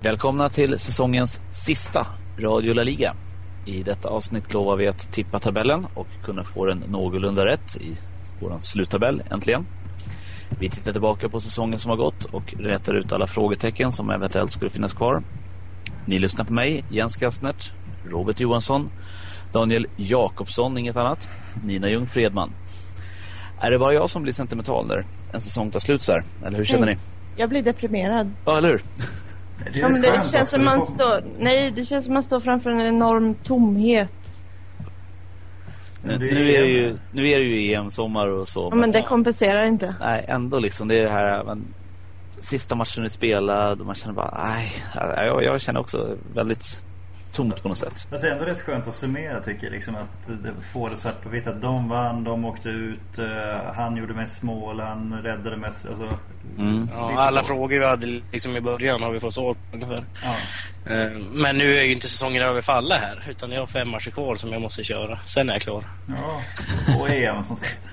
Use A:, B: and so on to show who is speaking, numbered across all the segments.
A: Välkomna till säsongens sista Radio La Liga. I detta avsnitt lovar vi att tippa tabellen och kunna få den någorlunda rätt i vår sluttabell äntligen. Vi tittar tillbaka på säsongen som har gått och rätar ut alla frågetecken som eventuellt skulle finnas kvar. Ni lyssnar på mig, Jens Kastnert, Robert Johansson, Daniel Jakobsson, inget annat, Nina Ljung Fredman. Är det bara jag som blir sentimental när en säsong tar slut så här? Eller hur känner
B: Nej.
A: ni?
B: Jag blir deprimerad.
A: Ja, eller hur?
C: Det
B: Ja, men det
C: skönt
B: känns
C: också.
B: som
C: Vi
B: man
C: får-
B: står... Nej, det känns som man står framför en enorm tomhet.
A: Nu,
C: Det är
A: nu, är det
C: EM.
A: ju, nu är det ju EM-sommar och så.
B: Ja, men det kompenserar inte.
A: Nej, ändå liksom. Det är det här men, sista matchen vi spelade och man känner bara, nej. Jag, jag känner också väldigt tomt på något sätt.
C: Fast det är ändå rätt skönt att summera tycker jag. Liksom att det- få det svart på vitt att de vann, de åkte ut, eh, han gjorde mest mål, han räddade mest. Alltså,
A: Mm.
C: Lite
D: Ja, alla
C: så.
D: frågor vi hade liksom i början har vi fått svar på ungefär.
C: ja.
D: Eh, Men nu är ju inte säsongen över för alla här. Utan jag har fem matcher kvar som jag måste köra. Sen är jag klar.
C: ja. Och EM som sagt.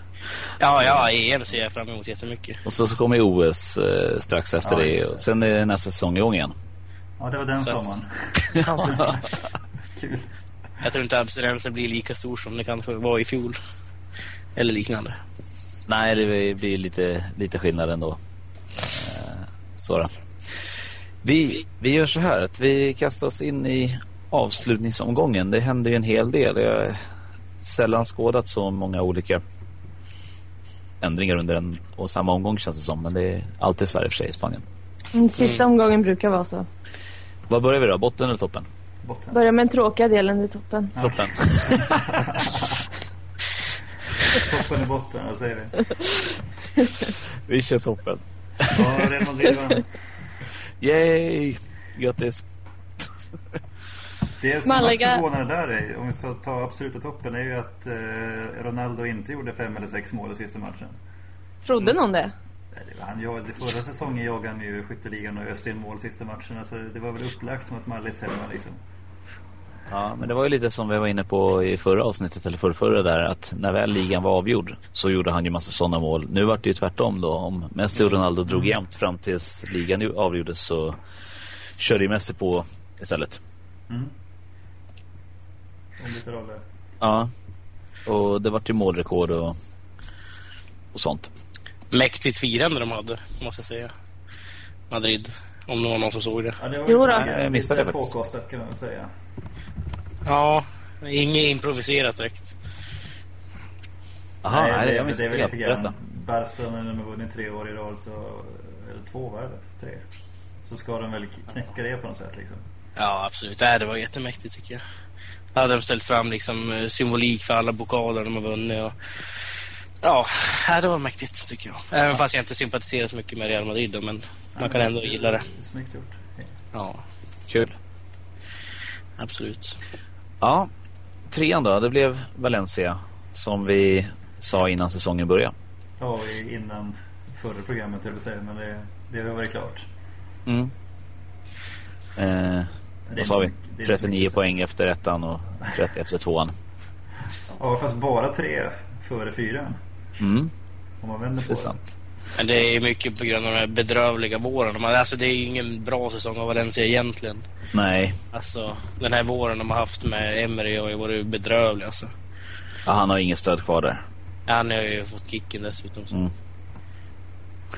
D: Ja, ja, EM ser jag fram emot jättemycket.
A: Och så, så kommer ju OS eh, strax efter
C: Ja,
A: det
C: just det.
A: och sen är det nästa säsong igång igen.
C: Ja, det var den
D: Så att-
C: sommaren. Kul.
D: Jag tror inte abstinensen blir lika stor som det kanske var i fjol. Eller liknande.
A: Nej, det blir lite, lite skillnad ändå. Eh, Så då. Vi, vi gör så här att vi kastar oss in i avslutningsomgången. Det händer ju en hel del. Jag har sällan skådat så många olika ändringar under en och samma omgång känns det som. Men det är alltid så här i och för sig i Spanien.
B: Den Mm, Sista
C: Mm.
B: omgången brukar vara så.
A: Var börjar vi då? Botten eller toppen?
C: Botten.
B: Börja med den tråkiga delen i toppen.
A: Toppen.
C: Toppen i botten, vad säger vi?
A: vi kör toppen.
C: Ja, Real Madrid vann.
A: Yay! Grattis!
C: Det som
B: Malaga.
C: Malaga. förvånar där är, om vi ska ta absoluta toppen, är ju att eh, Ronaldo inte gjorde fem eller sex mål i sista matchen.
B: Trodde någon det?
C: Nej, det var Han, jag, det förra säsongen jagade han ju skytteligan och öste in mål sista matchen. Alltså, det var väl upplagt som att Malle Selma liksom.
A: Ja, men det var ju lite som vi var inne på i förra avsnittet, eller förrförra där, att när väl ligan var avgjord så gjorde han ju massa sådana mål. Nu vart det ju tvärtom då. Om Messi och Ronaldo
C: Mm.
A: drog jämnt fram tills ligan ju avgjordes så körde ju Messi på istället.
C: Mm. Om lite roller.
A: Ja, och det vart ju målrekord och, och sånt.
D: Mäktigt firande de hade, måste jag säga. Madrid. Om det var någon som såg det.
C: Ja, det var
B: Jo
C: lite-
B: då.
A: Nej, jag missade
C: lite
A: det faktiskt.
C: påkostat kan man väl säga.
D: Ja, inget improviserat direkt.
A: Aha, nej,
C: det,
A: jag
C: det är
A: missade
C: väl
A: helt.
C: lite
A: Berätta.
C: grann. Barca när de har vunnit tre år i rad så, eller två var det? Tre. Så ska de väl knäcka det på något sätt liksom.
D: Ja, absolut. Nej, det var jättemäktigt tycker jag. Där hade de ställt fram liksom, eh, symbolik för alla pokaler de har vunnit. Och... Ja, nej, det var mäktigt tycker jag. Även fast jag inte sympatiserar så mycket med Real Madrid då, men man kan ändå gilla det.
C: Snyggt gjort.
D: Ja,
A: Kul.
D: absolut.
A: Ja, trean då. Det blev Valencia som vi sa innan säsongen började.
C: Ja, vi- innan förra programmet höll jag på att säga, men det, det har varit klart.
A: Mm. Eh,
C: Det är
A: vad sa
C: inte
A: vi?
C: så mycket- det är inte så
A: 39
C: mycket
A: poäng efter ettan och 30 efter tvåan.
C: Ja, fast bara tre före fyran.
A: Mm,
C: Om man vänder på
A: det är sant.
D: Men det är mycket på grund av den här bedrövliga våren. De har- Alltså, det är ju ingen bra säsong av Valencia egentligen.
A: Nej,
D: Alltså, den här våren de har haft med Emery har ju varit bedrövlig alltså.
A: ja, han har inget stöd kvar där.
D: Han har ju fått kicken dessutom. Så.
A: Mm.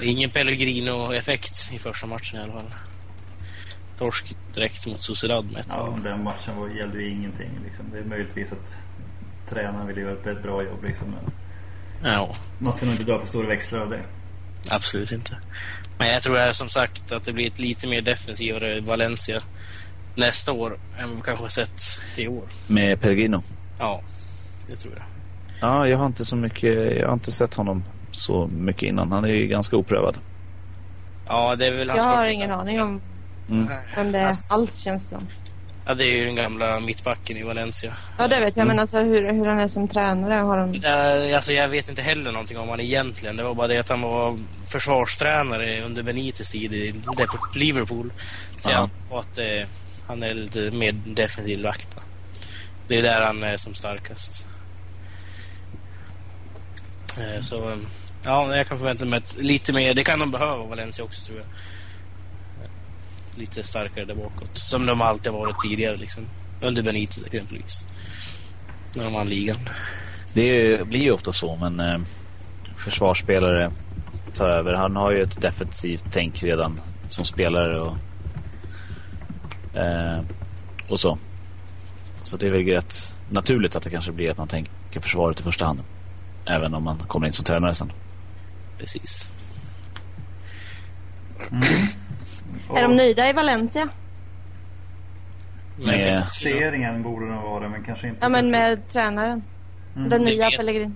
D: Ingen Pellegrino-effekt i första matchen i alla fall. Torsk direkt mot Sociedad med ett
C: Ja,
D: ja.
C: men den matchen var, gällde ju ingenting. Liksom. Det är möjligtvis att tränaren ville göra ett bra jobb. Liksom. Men
D: ja,
C: man ska nog inte dra för stora växlar av det.
D: absolut inte. Men jag tror här, som sagt att det blir ett lite mer defensivare Valencia nästa år än vad vi kanske har sett i år.
A: Med Pellegrino.
D: Ja, det tror jag.
A: Ja, jag har inte så mycket, jag har inte sett honom så mycket innan. Han är ju ganska oprövad.
D: Ja, det är väl
B: Jag
D: hans
B: har
D: första-
B: ingen aning om
A: Mm.
B: vem det
D: Ass-
B: alls känns som.
D: Ja, det är ju den gamla mittbacken i Valencia.
B: Ja, det vet jag.
A: Mm.
B: Men alltså hur, hur han är som tränare har de...
D: Eh, Alltså jag vet inte heller någonting om han egentligen. Det var bara det att han var försvarstränare under Benites tid i Dep- Liverpool. Så jag
A: Ja.
D: antar att eh, han är lite mer defensiv vakt. då. Det är där han är som starkast. Eh, Så eh, ja, jag kan förvänta mig att lite mer. Det kan de behöva Valencia också tror jag. lite starkare där bakåt. Som de alltid har varit tidigare liksom. Under Benitez exempelvis. När de vann ligan.
A: Det blir ju ofta så, men eh, försvarsspelare tar över. Han har ju ett defensivt tänk redan som spelare och, eh, och så. Så det är väl rätt naturligt att det kanske blir att man tänker försvaret i första hand. Även om man kommer in som tränare sen.
D: Precis.
B: Mm. Är de
C: Och
B: nöjda i Valencia?
D: Men-
A: Med-
C: Placeringen borde den vara men kanske inte
B: Ja, men
C: sättet.
B: med tränaren.
C: Mm.
B: Den
D: Det
B: nya
D: vet-
B: Pellegrin.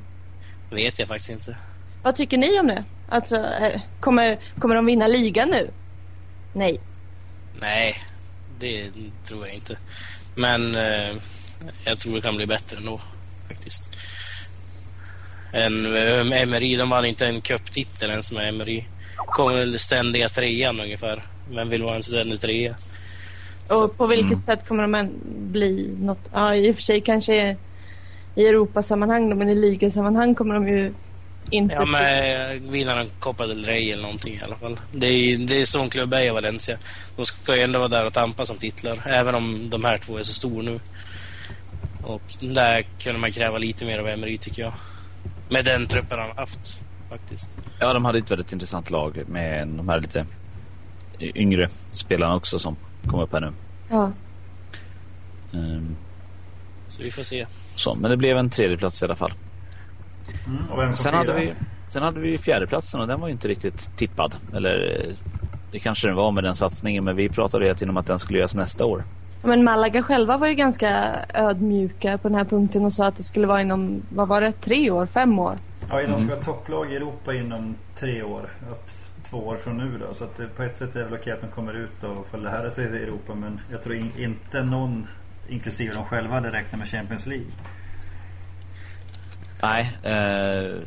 D: vet jag faktiskt inte.
B: Vad tycker ni om det? Alltså, eh, kommer, kommer de vinna ligan nu? Nej.
D: Nej, det tror jag inte. Men eh, jag tror det kan bli bättre ändå, faktiskt. En, eh, Emery, de vann inte en cuptitel ens med Emery. Kommer väl ständiga trean ungefär. Vem vill vara en ständig trea?
B: Och på vilket
A: Mm.
B: sätt kommer de än bli något? Ja, i och för sig kanske i Europasammanhang då, men i ligasammanhang kommer de ju inte...
D: Ja, men vinna någon Copa del Rey eller någonting i alla fall. Det är, det är sån klubb är i Valencia. De ska ju ändå vara där och tampas om titlar, även om de här två är så stora nu. Och där kunde man kräva lite mer av Emery, tycker jag. Med den truppen han haft, faktiskt.
A: Ja, de hade ett väldigt intressant lag med de här lite yngre spelarna också som kom upp här nu.
B: Ja.
A: Ehm,
D: Så vi får se.
A: så, men det blev en tredjeplats i alla fall.
C: Mm, och vem får
A: Sen hade,
C: fira?
A: vi, sen hade vi ju fjärdeplatsen och den var ju inte riktigt tippad. Eller eh, det kanske den var med den satsningen men vi pratade ju hela tiden om att den skulle göras nästa år.
B: Men Malaga själva var ju ganska ödmjuka på den här punkten och sa att det skulle vara inom, vad var det, tre år, fem år?
C: Ja, de
A: Mm.
C: ska vara topplag i Europa inom tre år. Ja, t- Två år från nu då. Så att det- på ett sätt är det väl okej att de kommer ut och får lära sig i Europa. Men jag tror in, inte någon, inklusive de själva, hade räknat med Champions League.
A: Nej, eh,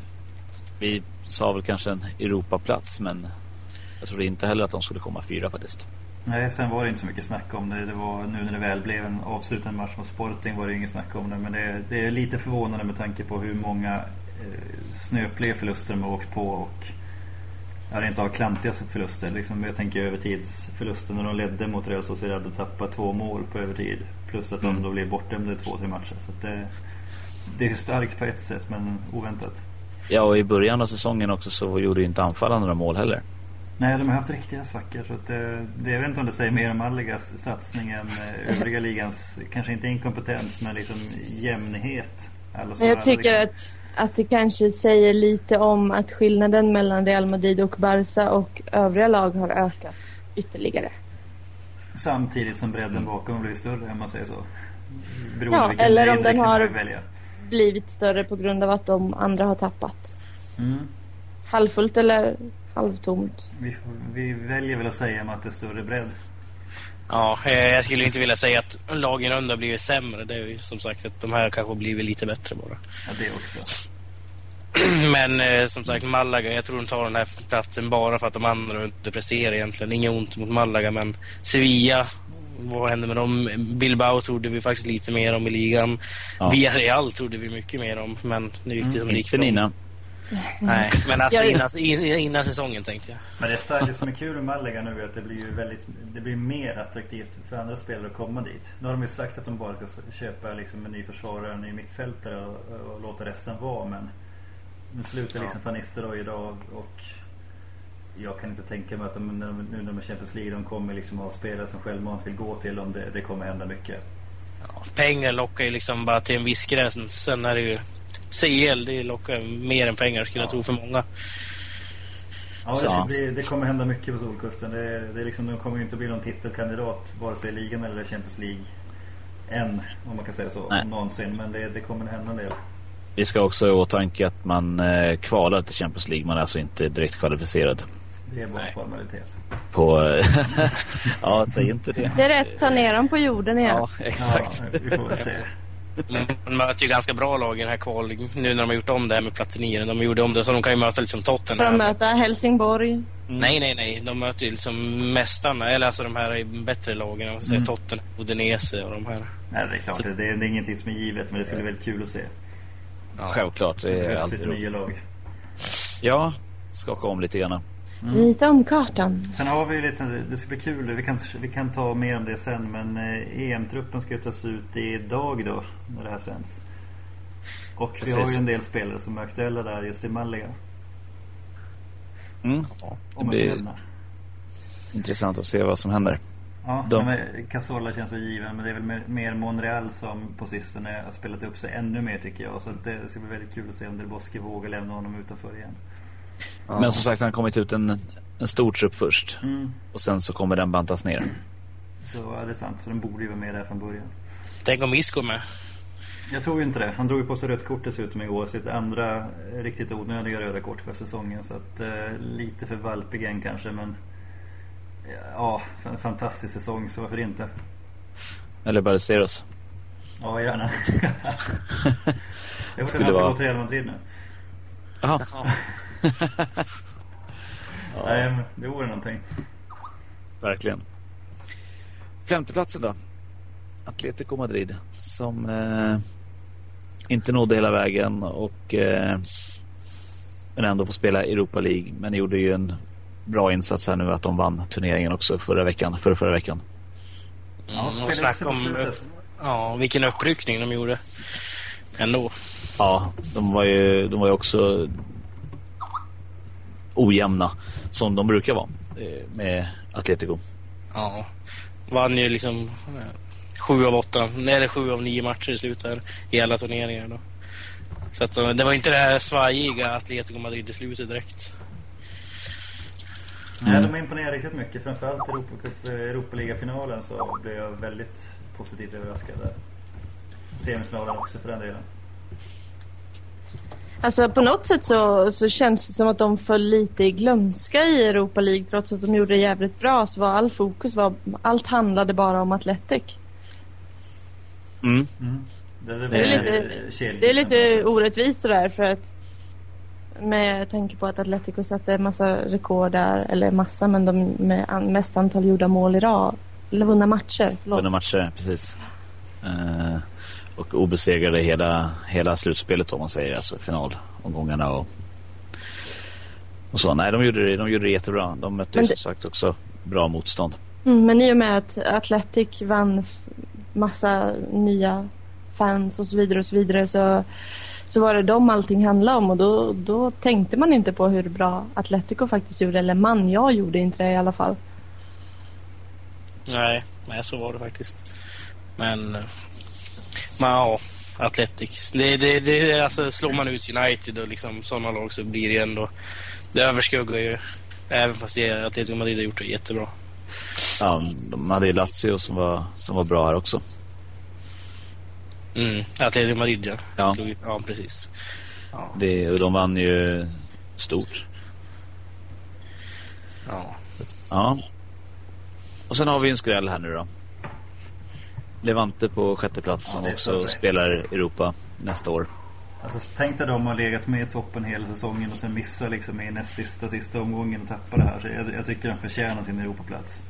A: vi sa väl kanske en Europaplats men jag trodde inte heller att de skulle komma fyra faktiskt.
C: Nej, sen var det inte så mycket snack om det. Det var nu när det väl blev en avslutad match mot Sporting var det inget snack om det. Men det, det är lite förvånande med tanke på hur många eh, snöpliga förluster de har åkt på och ja, rent av klantiga förluster. Liksom, jag tänker övertidsförlusten när de ledde mot Real Sociedad och tappade två mål på övertid. Plus att
A: Mm.
C: de då blev bortdömda i två, tre matcher. Så att det, det är starkt på ett sätt men oväntat.
A: Ja och i början av säsongen också så gjorde ju inte anfallarna några mål heller.
C: Nej, de har haft riktiga svackor. Så att det, det, jag vet inte om det säger mer om Malagas satsning än eh, övriga ligans, kanske inte inkompetens, men liksom jämnhet. Alla som
B: Men jag
C: alla
B: tycker
C: liksom-
B: att, att det kanske säger lite om att skillnaden mellan Real Madrid och Barca och övriga lag har ökat ytterligare.
C: Samtidigt som bredden bakom har blivit större, om man säger så. Beroende
B: Ja,
C: på vilken
B: eller om
C: linje
B: den
C: liksom
B: har-
C: man vill välja.
B: Blivit större på grund av att de andra har tappat.
C: Mm.
B: Halvfullt eller halvtomt.
C: Vi, vi väljer väl att säga om att det är större bredd.
D: Ja, eh, jag skulle inte vilja säga att lagen under har blivit sämre. Det är ju som sagt att de här kanske har blivit lite bättre bara.
C: Ja, det också.
D: Men eh, som sagt, Malaga, jag tror de tar den här platsen bara för att de andra underpresterar egentligen. Inget ont mot Malaga, men Sevilla, vad hände med dem? Bilbao trodde vi faktiskt lite mer om i ligan.
A: Ja. Mm,
D: Villarreal trodde vi mycket mer om, men nu gick det som det gick
A: Inte
D: för dem.
A: Nina. Mm.
D: Nej, men alltså
B: Jag-
D: innan, in- innan säsongen tänkte jag.
C: Men det, är det som är kul med Malaga nu är att det blir ju väldigt, det blir mer attraktivt för andra spelare att komma dit. Nu har de ju sagt att de bara ska köpa liksom en ny försvarare, en ny mittfältare och, och låta resten vara men nu slutar liksom van Nistelrooy idag och jag kan inte tänka mig att de, när de, nu när de är Champions League, de kommer liksom ha spelare som självmant vill gå till om det, det kommer hända mycket.
D: Ja, pengar lockar ju liksom bara till en viss gräns. Sen är det ju CL, det lockar mer än pengar skulle jag tro för många.
C: Ja,
A: Så.
C: det, det, det kommer hända mycket på Solkusten. Det, det är liksom, de kommer ju inte bli någon titelkandidat vare sig i ligan eller Champions League än, om man kan säga så,
A: Nej.
C: någonsin. Men det, det kommer hända en del.
A: Vi ska också ha i åtanke att man eh, kvalar till Champions League. Man är alltså inte direkt kvalificerad.
C: Det är bara
D: Nej.
C: en formalitet.
A: På... ja, säg inte det.
B: Det är rätt, ta ner dem på jorden igen.
A: Ja, exakt.
C: Ja, vi får väl se.
A: Mm.
D: Men De möter ju ganska bra lag i den här kval nu när de har gjort om det här med platinieren. De gjorde om det så de kan ju möta liksom
B: Får de
D: Tottenham. Mm.
B: möta Helsingborg.
A: Mm.
D: Nej, nej, nej. De möter ju liksom mästarna, eller alltså de här bättre lagen. Alltså
C: Mm.
D: Tottenham, Udinese och de här.
C: Nej, det är klart. Det, det är ingenting som är givet, men det skulle bli väldigt kul att se.
A: Självklart. Det är
C: Plötsligt
A: alltid
C: nya
A: roligt.
C: lag.
A: Ja, skaka om lite grann.
B: Rita om kartan.
C: Sen har vi ju lite, det ska bli kul, vi kan, vi kan ta mer om det sen men eh, EM-truppen ska ju tas ut idag då när det här sänds. Och vi har
A: Precis.
C: ju en del spelare som är aktuella där just i Malaga.
A: Mm. Det
C: Om man kan
A: blir
C: nämna.
A: intressant att se vad som händer.
C: Ja,
A: de-
C: men Casola känns så given men det är väl mer- mer Monreal som på sistone har spelat upp sig ännu mer tycker jag. Så att det ska bli väldigt kul att se om Del Bosque vågar lämna honom utanför igen.
E: Ja.
A: Men som sagt, han har kommit ut en, en stor trupp först
C: Mm.
A: och sen så kommer den bantas ner.
C: Så ja, det är sant, så den borde ju vara med där från början.
D: Tänk om Isco är med.
C: Jag tror ju inte det. Han drog ju på sig rött kort dessutom igår. Sitt andra eh, riktigt onödiga röda kort för säsongen. Så att eh, lite för valpig än kanske men ja, f- en fantastisk säsong så varför inte?
A: Eller Ballesteros.
C: Ja, gärna. Jag hörde att
A: Skulle
C: han ska
A: vara-
C: gå till Real Madrid nu.
A: Jaha.
C: Nej, men det vore någonting.
A: Verkligen. Femteplatsen då? Atletico Madrid som eh, inte nådde hela vägen och eh, men ändå får spela Europa League. Men gjorde ju en bra insats här nu att de vann turneringen också förra veckan, förra, förra veckan.
C: Ja,
D: Mm, och
C: spelar också
D: snacka
C: på
D: om
C: slutet.
D: ja, vilken uppryckning de gjorde. Ändå.
A: Ja, de var ju, de var ju också ojämna som de brukar vara eh, med Atletico.
D: Ja. Vann ju liksom eh, sju av åtta, nej, eller sju av nio matcher i slutet här, i alla turneringar. Då. Så att, eh, det var inte det här svajiga Atletico Madrid i slutet direkt.
C: Nej, de imponerar riktigt mycket. Framförallt Europa Cup- eh, Europa-ligafinalen så blev jag väldigt positivt överraskad där. Semifinalen också för den delen.
B: Alltså på något sätt så, så känns det som att de föll lite i glömska i Europa League. Trots att de gjorde det jävligt bra så var all fokus, var, allt handlade bara om Atletic.
A: Mm.
C: Mm. Det,
A: Det är
C: lite,
B: Det är lite orättvist sådär för att med tanke på att Atletico satte en massa rekord där, eller massa men de med an, mest antal gjorda mål i rad. Eller vunna matcher, förlåt.
A: Vunna matcher, precis. Eh, och obesegrade hela, hela slutspelet om man säger, alltså finalomgångarna och, och så. Nej, de gjorde det, de gjorde det jättebra. De mötte ju
B: Men
A: som
B: det-
A: sagt också bra motstånd.
B: Mm, men i och med att Athletic vann f- massa nya fans och så vidare och så vidare så, så var det dem allting handlade om och då, då tänkte man inte på hur bra Atletico faktiskt gjorde. Eller man, jag gjorde inte det i alla fall.
D: Nej, nej så var det faktiskt. Men, eh, men ja, Athletics. Det, det, det, alltså, slår man ut United och liksom, sådana lag så blir det ändå... Det överskuggar ju. Även fast det, Atletico Madrid har gjort det jättebra.
A: Ja, de hade ju Lazio som var, som var bra här också.
D: Mm, Atletico Madrid ja.
A: Ja.
D: Slog ju- ja precis. Ja.
A: Det, och de vann ju stort.
D: ja.
A: Ja. Och sen har vi en skräll här nu då. Levante på sjätte plats som
C: det är
A: också
C: perfekt.
A: spelar Europa nästa år.
C: Alltså, tänk dig de har legat med i toppen hela säsongen och sen missar liksom i näst sista, sista omgången och tappar det här. Så jag, jag tycker de förtjänar sin Europaplats.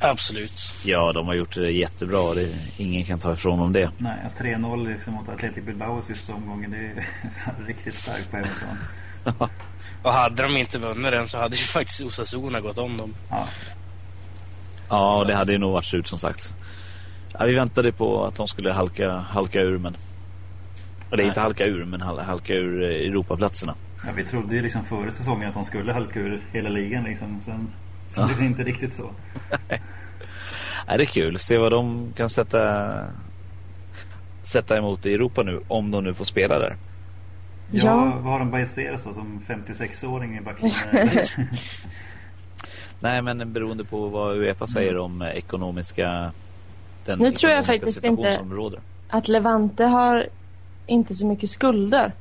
D: Absolut.
A: Ja, de har gjort det jättebra. Det, ingen kan ta ifrån dem det.
C: Nej, att 3-0 liksom mot Athletic Bilbao i sista omgången, det är fan riktigt starkt på hemmaplan.
D: Och hade de inte vunnit den så hade ju faktiskt Osasuna gått om dem.
C: Ja.
A: Ja, det hade ju nog varit surt som sagt. Ja, vi väntade på att de skulle halka, halka ur, men... Eller inte halka ur, men hal- halka ur eh, Europaplatserna.
C: Ja, vi trodde ju liksom före säsongen att de skulle halka ur hela ligan liksom. Sen, sen blev det inte riktigt så.
A: Ja, det är kul. Se vad de kan sätta, sätta emot i Europa nu, om de nu får spela där.
C: Ja.
B: Ja.
C: Vad har de Ballesteros då som 56-åring i backlinjen?
A: Nej, men beroende på vad Uefa säger om eh, ekonomiska... Den
B: Nu tror jag
A: ekonomiska
B: faktiskt
A: situation
B: inte-
A: Som råder.
B: Att Levante har inte så mycket skulder.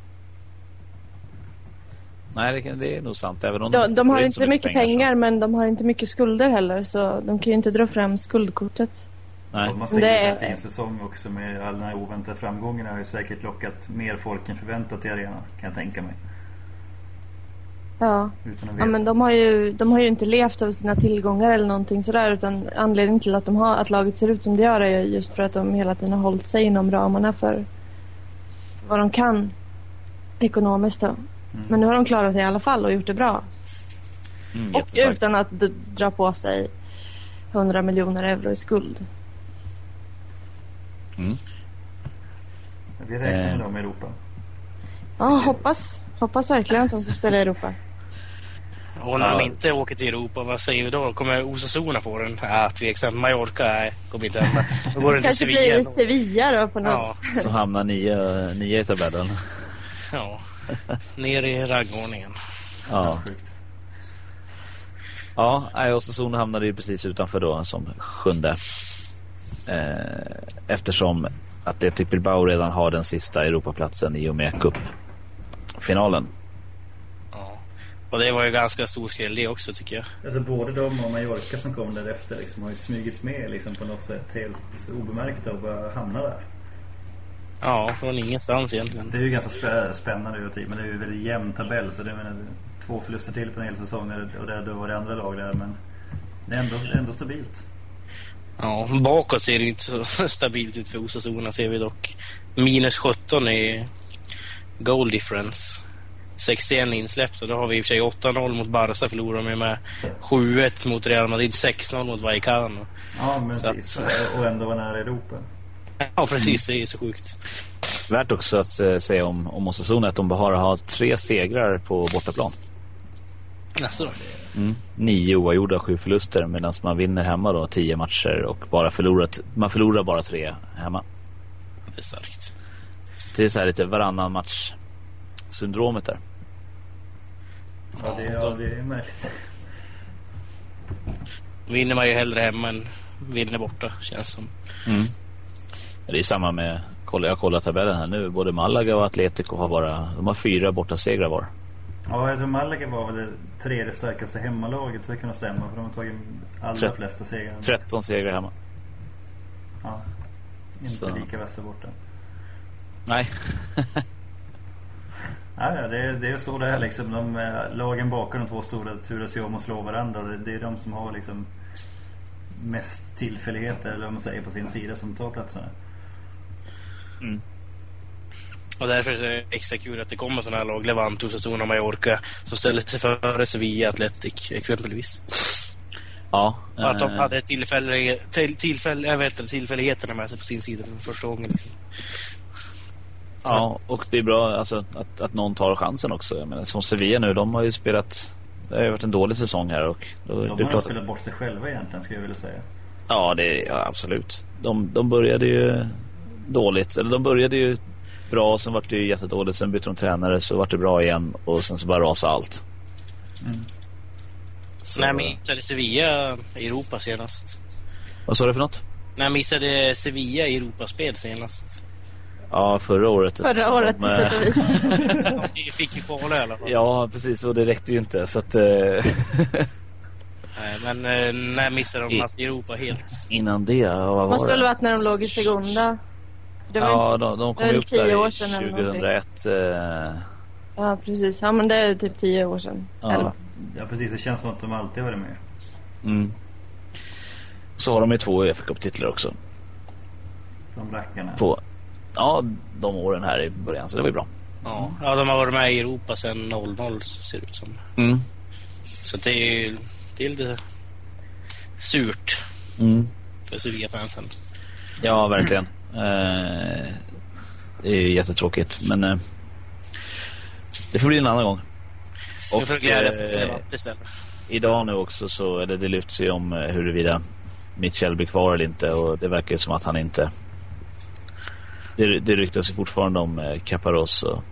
A: Nej, det, kan- det är nog sant. Även om
B: De, de
A: får
B: har
A: in
B: inte
A: så
B: mycket, pengar,
A: så-
B: men de har inte mycket skulder heller så de kan ju inte dra fram skuldkortet.
A: Nej.
C: De har säkert
B: Det är-
C: en fin säsong också med alla de här oväntade framgångarna. Har ju säkert lockat mer folk än förväntat i arenan kan jag tänka mig.
B: Ja.
C: Utan att
B: Ja,
C: veta.
B: men de, har ju, de har ju inte levt av sina tillgångar eller någonting sådär utan anledningen till att, de har, att laget ser ut som det gör är ju just för att de hela tiden har hållit sig inom ramarna för vad de
C: Mm.
B: kan ekonomiskt. Då. Men nu har de klarat det i alla fall och gjort det bra.
A: Mm,
B: Och
A: jättestarkt.
B: utan att d- dra på sig 100 miljoner euro i skuld.
A: Mm.
C: Men Vi räknar
A: Eh.
C: med dem i Europa.
B: Ja, hoppas, hoppas verkligen att de får spela i Europa.
D: Och när de
A: Ja.
D: inte åker till Europa, vad säger vi då? Kommer Osasuna få den? Ja, tveksamt. Mallorca? Nej, kommer inte hända. Då går den till
B: Kanske blir
D: Sevilla.
B: det Sevilla då på något
D: Ja,
A: Så hamnar nio, nio i tabellen.
D: ja. Ner i raggordningen.
A: Ja,
C: Sjukt.
A: ja nej, Östersund hamnade ju precis utanför då som sjunde. Eh, eftersom att det typ Bilbao redan har den sista Europaplatsen i och med cupfinalen.
D: Ja. Och det var ju ganska stor skräll det också tycker jag.
C: Alltså både de och Mallorca som kom därefter liksom har ju smugit med liksom på något sätt helt obemärkta och bara hamnar där.
D: Ja, från ingenstans egentligen.
C: Det är ju ganska spä- spännande över tid men det är ju en väldigt jämn tabell så det menar, två förluster till på en hel säsong och det, då var det andra lag där men det är ändå, ändå stabilt.
D: Ja, bakåt ser det ju inte så stabilt ut för Osasuna ser vi dock. Minus 17 i goal difference. 61 insläppta. Då har vi i och för sig 8-0 mot Barca förlorar de ju med. 7-1 mot Real Madrid, 6-0 mot Vallecano.
C: Ja men
D: Så att-
C: precis. Och ändå var nära Europa.
D: Ja, precis. Det är ju så sjukt.
A: Värt också att eh, säga om, om Osasuna att de bara har tre segrar på bortaplan.
D: Alltså,
A: Nio oavgjorda, sju förluster medan man vinner hemma då tio matcher och bara förlorat, man förlorar bara tre hemma.
D: det är starkt.
A: Så det är så här lite varannan match syndromet där.
C: Ja det, ja, det är märkligt.
D: Vinner man ju hellre hemma än vinner borta, känns som.
A: Det är samma med, kolla- jag kollar tabellen här nu, både Malaga och Atletico har bara, de har fyra bortasegrar var.
C: Ja jag tror Malaga var väl det tredje starkaste hemmalaget så det kan nog stämma för de har tagit allra
A: Trett-
C: flesta segrar.
A: 13 segrar hemma.
C: Ja.
A: Så.
C: Inte lika vassa borta.
A: Nej,
C: Ja, ja, det, är, det är så det är liksom. De, eh, lagen bakom de två stora turas ju om att slå varandra. Det, det är de som har liksom mest tillfälligheter, eller vad man säger, på sin sida som tar platserna.
D: Och därför är det extra kul att det kommer sådana här lag, Levante, Osasuna, Mallorca, som ställer sig före Sevilla, Athletic exempelvis.
A: ja.
D: Och att de
A: eh,
D: hade tillfälle, till, tillfälle, jag vet inte, tillfälligheterna med sig på sin sida för första gången.
A: Ja, och det är bra alltså, att, att någon tar chansen också. Jag menar, som Sevilla nu, de har ju spelat, det har ju varit en dålig säsong här och då,
C: De
A: det är
C: har ju
A: klart att
C: spelat bort sig själva egentligen, skulle jag vilja säga.
A: Ja, det, ja absolut. De, de började ju dåligt. Eller de började ju bra, sen vart det ju jättedåligt. Sen bytte de tränare, så vart det bra igen och sen så bara rasade allt.
C: Mm.
A: Så,
D: När missade Sevilla Europa senast?
A: Vad sa du för något?
D: När missade Sevilla Europaspel senast?
A: Ja, förra året.
B: förra
A: eftersom
B: året
A: de,
B: på sätt
A: eh,
B: och vis.
D: Vi fick ju kvala i alla fall.
A: Ja, precis. Och det räckte ju inte. Så att, eh,
D: Nej, Men eh, när missade de
A: I-
D: alltså Europa helt?
A: innan det, ja, vad
B: Det
A: var
B: måste
A: det?
B: väl varit när de låg i Segunda. Det var ju
A: ja, de, de
B: det
A: kom
B: var
A: ju
B: väl
A: upp
B: tio
A: där i
B: år sedan eller
A: 2001. Eh,
B: Ja, precis. Ja, men det är typ tio år sedan.
A: Ja.
B: Elva.
C: Ja, precis. Det känns som att de alltid har varit med.
A: mm. Så har de ju två Uefa Cup-titlar också.
C: De rackarna.
A: På ja, de åren här i början, så det var ju bra.
D: Ja. ja, de har varit med i Europa sedan 00 ser det ut som.
A: Mm.
D: Så det är, ju- det är lite surt
A: Mm.
D: för Sevilla-fansen.
A: Ja, verkligen. Eh, det är ju jättetråkigt, men eh, det får bli en annan gång.
D: Och för att glädjas åt
A: eh,
D: Levante istället.
A: idag nu också så, eller det lyfts ju om eh, huruvida Mitchell blir kvar eller inte och det verkar ju som att han inte... Det, det ryktas ju fortfarande om eh, Caparos och...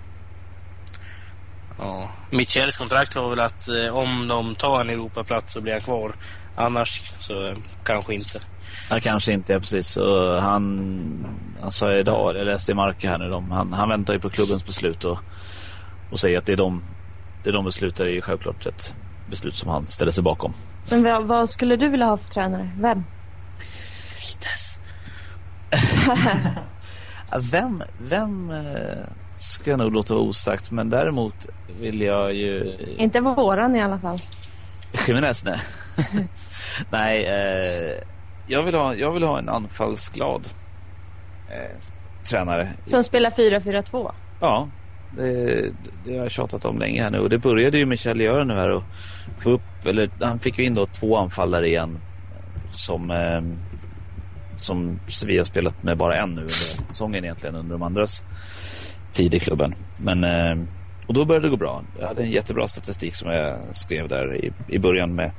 D: Ja. Michels kontrakt var väl att eh, om de tar en Europaplats så blir han kvar. Annars så eh, kanske inte.
A: Ja, kanske inte, ja, precis. Och han, han sa idag, jag läste i Marca här nu, de, han, han väntar ju på klubbens beslut och, och säger att det är de, det de beslutar är ju självklart ett beslut som han ställer sig bakom.
B: Men vad, vad skulle du vilja ha för tränare? Vem?
D: Vitas.
A: Ja, Vem, vem eh, ska jag nog låta vara osagt, men däremot vill jag ju...
B: Inte våran i alla fall.
A: Jiménez, nej. nej, eh, jag, vill ha, jag vill ha en anfallsglad eh, tränare.
B: Som spelar 4-4-2.
A: Ja, Det, det har jag tjatat om länge här nu och det började ju Michel göra nu här och få upp, eller han fick ju in då två anfallare igen som, eh, som vi har spelat med bara en nu under säsongen egentligen under de andras tid i klubben. Men, eh, och då började det gå bra. Jag hade en jättebra statistik som jag skrev där i, i början med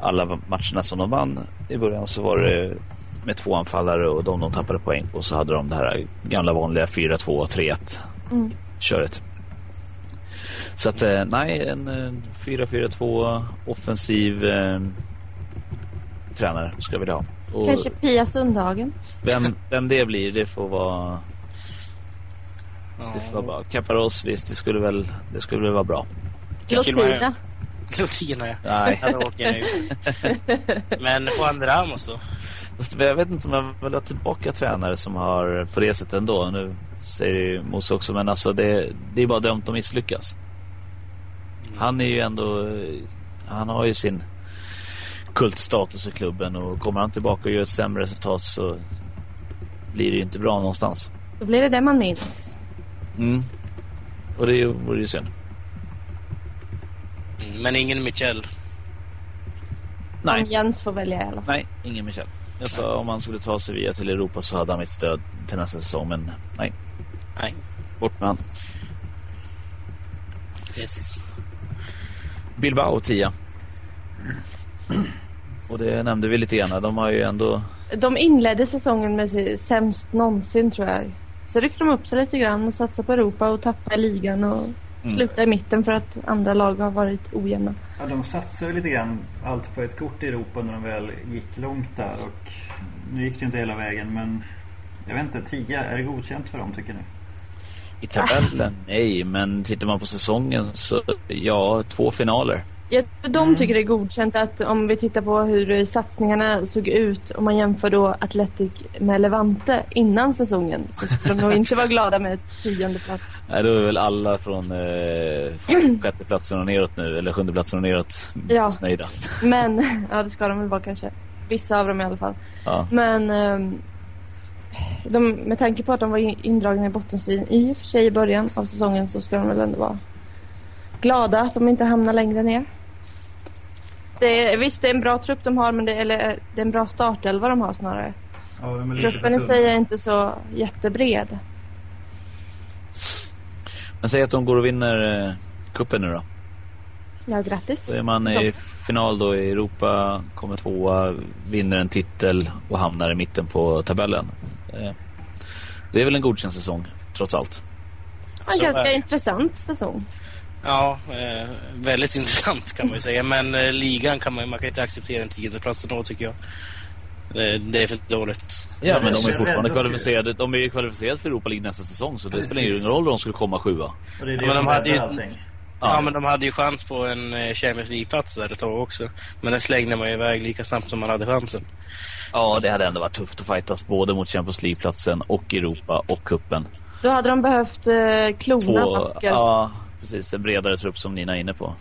A: alla matcherna som de vann. I början så var det med två anfallare och de de tappade poäng på så hade de det här gamla vanliga 4-2 och 3-1
B: Mm.
A: köret. Så att eh, nej, en eh, 4-4-2 offensiv eh, tränare skulle jag vilja ha. Och
B: Kanske Pia Sundhagen.
A: vem, vem det blir, det får vara... Det får vara
D: Ja.
A: bra. Kaparos, visst, det skulle väl, det skulle väl vara bra.
D: Kanske
B: Lotina.
D: Lotina, ja.
A: Nej.
D: Ja, då åker jag ju. Men Juan de Ramos då?
A: Fast Jag vet inte om jag vill ha tillbaka tränare som har på det sättet ändå. Nu säger ju Mose också, men alltså det, det är bara dömt att misslyckas. Han är ju ändå, eh, han har ju sin kultstatus i klubben och kommer han tillbaka och gör ett sämre resultat så blir det ju inte bra någonstans.
B: Då blir det det man minns.
A: Mm. Och det är ju- vore ju synd.
D: Mm, Men ingen Michel.
A: Nej.
B: Om Jens får välja i alla fall.
A: Nej, ingen Michel. Jag sa om han skulle ta Sevilla till Europa så hade han mitt stöd till nästa säsong, men nej,
D: Nej.
A: bort med han.
D: Yes.
A: Bilbao 10. Och det nämnde vi lite grann. De har ju ändå...
B: De inledde säsongen med si- sämst någonsin tror jag. Så ryckte de upp sig lite grann och satsade på Europa och tappade ligan och
A: Mm.
B: slutade i mitten för att andra lag har varit ojämna.
C: Ja, de satsade lite grann allt på ett kort i Europa när de väl gick långt där och nu gick det ju inte hela vägen men jag vet inte, 10, är det godkänt för dem tycker ni?
A: I tabellen? Nej, men tittar man på säsongen så ja, två finaler.
B: Jag, de tycker det är godkänt att om vi tittar på hur satsningarna såg ut om man jämför då Atletic med Levante innan säsongen så skulle de nog inte vara glada med ett tionde plats.
A: Nej, då är väl alla från eh, sjätteplatsen och neråt nu, eller sjundeplatsen och neråt,
B: Ja.
A: missnöjda.
B: Men, ja det ska de väl vara kanske. Vissa av dem i alla fall.
A: Ja.
B: Men ehm, de, med tanke på att de var in- indragna i bottenstriden i och för sig i början av säsongen så ska de väl ändå vara glada att de inte hamnar längre ner. Det är, visst, det är en bra trupp de har, men det, eller, det är en bra startelva de har snarare.
C: Ja, de är
B: Truppen i sig är inte så jättebred.
A: Men säg att de går och vinner eh, cupen nu då.
B: Ja, grattis.
A: Då är man i final då i Europa, kommer tvåa, vinner en titel och hamnar i mitten på tabellen. Eh, Det är väl en godkänd säsong, trots allt.
B: En
D: Så
B: ganska
D: är det.
B: intressant säsong.
D: Ja, eh, väldigt intressant kan man ju säga. Men eh, ligan kan man, man kan inte acceptera en tiondeplats då tycker jag. Eh, det är för dåligt.
A: Ja, men de
C: Men
A: är
C: det
A: fortfarande
C: räddas ju.
A: kvalificerade. De är ju kvalificerade för Europa League nästa säsong så det
C: Precis.
A: spelar ingen roll om de skulle komma sjua.
C: Och det är det
D: Ja, men
C: som
D: de hade
C: räddar
D: ju-
C: allting.
A: Ja.
D: Ja. men de hade ju chans på en eh, Champions League-plats där ett tag också. Men den slängde man ju iväg lika snabbt som man hade chansen.
A: Ja, det hade ändå varit tufft att fightas både mot Champions League-platsen och Europa och kuppen.
B: Då hade de behövt eh, klona
A: Två,
B: Baskar.
A: ja, precis. En bredare trupp som Nina är inne på.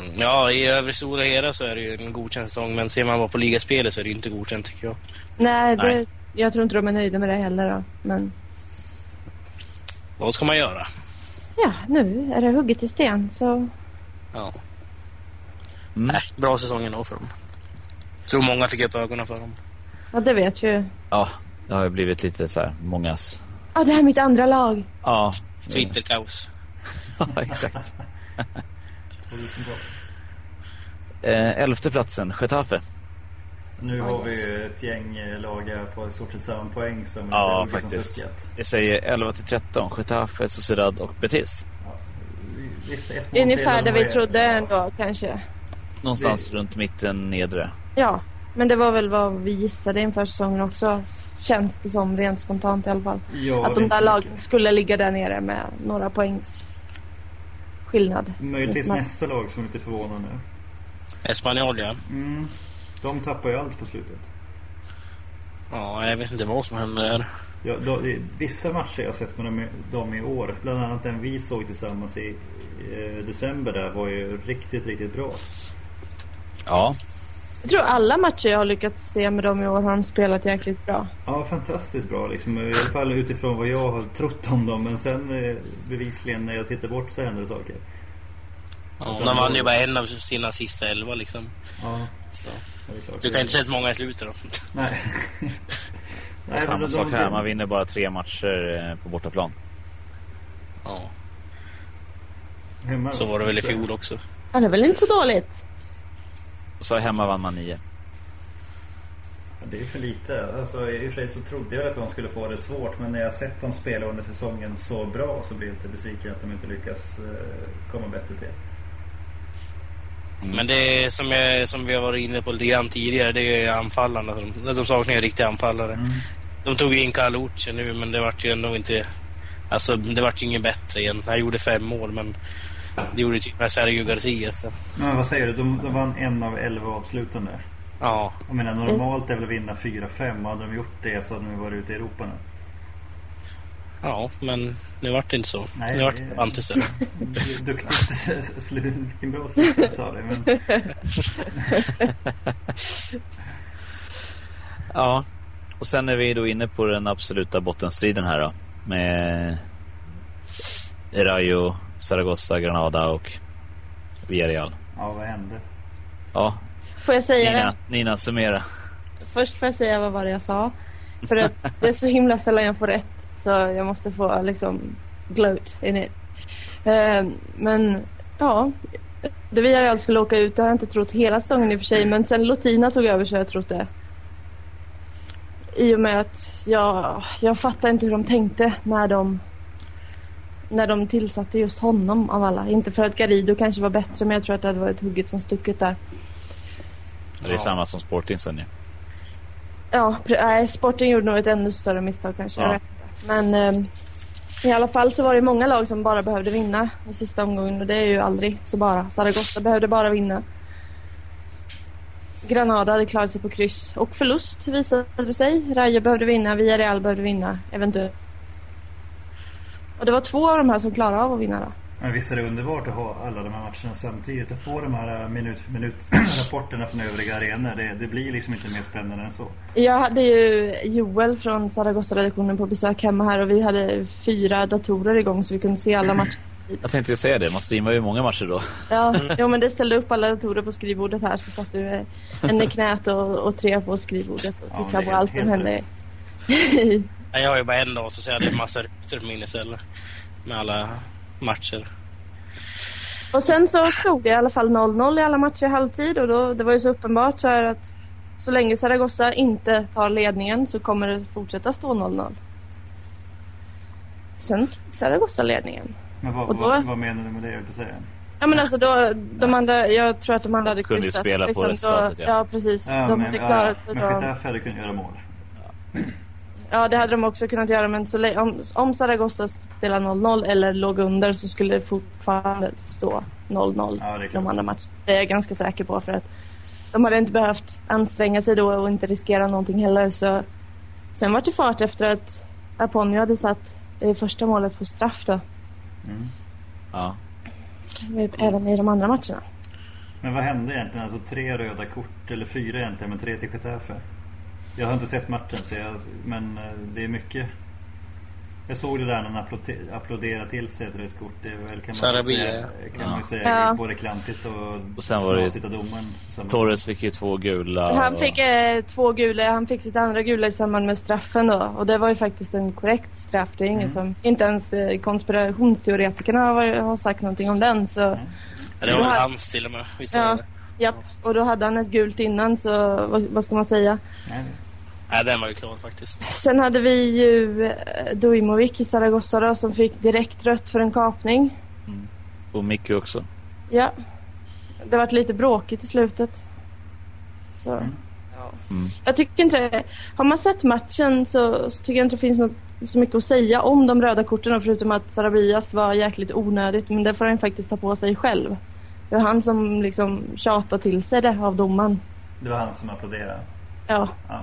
D: Mm. Ja, i övre stora hela så är det ju en godkänd säsong. Men ser man bara på ligaspelet så är det ju inte godkänt tycker jag.
B: Nej, det,
A: Nej.
B: jag tror inte de är nöjda med det heller. Då. Men
D: Vad ska man göra?
B: ja, nu är det hugget i sten. Så
D: Ja.
A: Mm.
D: Nej, bra säsong ändå för dem. Tror många fick upp ögonen för dem.
B: Ja, det vet ju.
A: Ja, det har ju blivit lite så här mångas...
B: Ja, det här är mitt andra lag.
A: Ja,
D: Mm. Twitterkaos.
A: ja exakt.
C: Och det är så bra.
A: Eh, elfte platsen, Getafe.
C: Nu
B: Ja,
C: har vi
B: just.
C: ju ett gäng eh, lag här på i stort sett samma poäng som
A: Ja,
C: Lukas som
A: faktiskt.
C: stucket.
A: Det säger 11 till 13, Getafe, Sociedad och Betis.
C: Visst, ett mål
B: Ungefär
C: till
B: där
C: och de
B: vi
C: är-
B: trodde
C: ja.
B: ändå kanske.
A: Någonstans runt mitten nedre.
B: Ja, men det var väl vad vi gissade inför säsongen också. Känns det som rent spontant i alla fall. att
C: Ja, det är
B: de
C: inte
B: där
C: mycket.
B: lagen skulle ligga där nere med några poängs skillnad.
C: Möjligtvis
B: Men-
C: nästa lag som är lite förvånar nu.
D: Espanyol, ja.
C: Mm. De tappar ju allt på slutet.
D: Ja, jag vet inte vad som händer där.
C: Ja, då, det, vissa matcher jag har sett med dem, dem i år, bland annat den vi såg tillsammans i eh, december där var ju riktigt, riktigt bra.
A: Ja,
B: Jag tror alla matcher jag har lyckats se med dem i år har de spelat jäkligt bra.
C: Ja, fantastiskt bra liksom. I alla fall utifrån vad jag har trott om dem. Men sen eh, bevisligen när jag tittar bort så händer det saker.
D: Ja, de vann ju bara en av sina sista elva liksom.
C: Ja,
D: Så.
C: det är klart.
D: Du kan ju inte sett många i slutet då.
C: Nej.
A: Och
C: men
A: samma
C: de-
A: sak här,
C: de-
A: man vinner bara tre matcher eh, på bortaplan.
D: Ja,
C: hemma
D: så var det väl i fjol också.
B: Ja, det är väl inte så dåligt?
A: Och så hemma vann man nio.
C: Ja, Det är för lite. Alltså, I och för sig så trodde jag att de skulle få det svårt men när jag sett dem spela under säsongen så bra så blir jag inte besviken att de inte lyckas eh, komma bättre till.
D: Men det är som, jag, som vi har varit inne på lite grann tidigare, det är ju anfallarna. De, de saknar ju riktiga anfallare.
C: Mm.
D: De tog ju in Kaluce nu, men det vart ju ändå inte... Alltså, det vart ju inget bättre igen. Han gjorde fem mål, men det gjorde ju typ med Sergio Garcia. Så.
C: Men vad säger du? De, de vann en av elva avslutande.
D: Ja,
C: Jag menar normalt är väl att vinna 4-5 och hade de gjort det så hade de varit ute i Europa nu.
D: ja, men nu vart det inte så.
C: Nej,
D: nu vart
C: det-
D: det inte så.
C: Du- Duktigt slut. Vilken bra slutsats av det. Men,
A: Ja, och sen är vi då inne på den absoluta bottenstriden här då. Med Rayo, Zaragoza, Granada och Villarreal.
C: ja, vad hände?
A: Ja,
B: Får jag säga det?
A: Nina, Nina summera.
B: Först får jag säga vad var det jag sa. För att det är så himla sällan jag får rätt. Så jag måste få liksom gloat in it. Eh, men ja. Det Villarreal skulle åka ut, det har jag inte trott hela säsongen i och för sig. Men sen Lotina tog över så har jag trott det. I och med att jag, jag fattar inte hur de tänkte när de, när de tillsatte just honom av alla. Inte för att Garrido kanske var bättre men jag tror att det hade varit hugget som stucket där.
A: Det är
D: Ja.
A: samma som Sporting sen ju.
B: Ja, pre- nej, Sporting gjorde nog ett ännu större misstag kanske.
A: Ja.
B: Jag vet inte. Men ehm, i alla fall så var det många lag som bara behövde vinna i sista omgången och det är ju aldrig så bara. Zaragoza behövde bara vinna. Granada hade klarat sig på kryss och förlust visade det sig. Rayo behövde vinna, Villarreal behövde vinna, eventuellt. Och det var två av de här som klarade av att vinna då.
C: Men visst är det underbart att ha alla de här matcherna samtidigt och få de här äh, minut för minut rapporterna från övriga arenor. Det, det blir liksom inte mer spännande än så.
B: Jag hade ju Joel från Zaragoza-redaktionen på besök hemma här och vi hade fyra datorer igång så vi kunde se alla matcher
A: Jag tänkte ju säga det, man streamar ju många matcher då.
B: Ja,
A: Mm.
B: jo, men det ställde upp alla datorer på skrivbordet här så satt du eh, en i knät och, och tre på skrivbordet och
C: Ja, men
B: tittade
C: det
B: på
C: är
B: allt som
C: helt
B: hände.
C: rätt.
D: Nej, Jag har ju bara en dator, så jag hade en massa rutor på min istället. Med alla matcher.
B: och sen så stod det i alla fall 0-0 i alla matcher i halvtid och då, det var ju så uppenbart så här att så länge Zaragoza inte tar ledningen så kommer det fortsätta stå 0-0. Sen tog Zaragoza ledningen.
C: Men vad,
B: Och då-
C: vad, vad menar du med det jag höll på att säga?
B: Ja men alltså då, de andra, jag tror att de andra hade
A: Kunde ju
B: kryssat. liksom,
A: spela på
B: då-
A: resultatet, ja.
B: ja. precis.
C: Ja,
B: de
C: men
B: hade
C: ja,
B: klarat sig
C: men
B: då.
C: Getafe hade kunnat göra mål.
B: Ja, det hade de också kunnat göra, men så lä- om, om Zaragoza spelar 0-0 eller låg under så skulle det fortfarande stå 0-0
C: Ja, det är
B: de
C: klart.
B: andra matcherna. Det är jag ganska säker på för att de hade inte behövt anstränga sig då och inte riskera någonting heller. Så. Sen var det fart efter att Aponio hade satt det första målet på straff då,
C: Mm.
A: Ja.
B: även i de andra matcherna.
C: Men vad hände egentligen? Alltså tre röda kort, eller fyra egentligen, men tre till Getafe. Jag har inte sett matchen, så jag, men eh, det är mycket. Jag såg det där när han applåte- applåderade till sig ett rött kort. Det är väl, kan man ju
D: Sarabia,
C: säga, kan man ju
A: Ja.
C: säga
B: Ja.
C: både klantigt och,
A: Och sen var det-
C: sitta domaren. som-
A: Torres fick ju två gula.
B: Han
A: och-
B: fick eh, två gula, han fick sitt andra gula i samband med straffen då. Och det var ju faktiskt en korrekt straff. Det är ingen
C: Mm.
B: som, inte ens eh, konspirationsteoretikerna har, varit- har sagt någonting om den. Så,
C: Mm.
D: Det var väl hans till och med. Visst var
B: Ja.
D: det?
B: japp. Och då hade han ett gult innan, så vad, vad ska man säga?
C: Nej,
D: Nej, den var ju klar faktiskt.
B: Sen hade vi ju eh, Dujmovic i Zaragoza då, som fick direkt rött för en kapning.
A: Och Micke också.
B: Ja. Det vart lite bråkigt i slutet. Så.
A: Mm.
B: Jag tycker inte det. Har man sett matchen så, så tycker jag inte det finns något, så mycket att säga om de röda korten förutom att Sarabias var jäkligt onödigt men det får han faktiskt ta på sig själv. Det var han som liksom tjatade till sig det av domaren.
C: det var han som applåderade.
B: Ja.
C: Ja.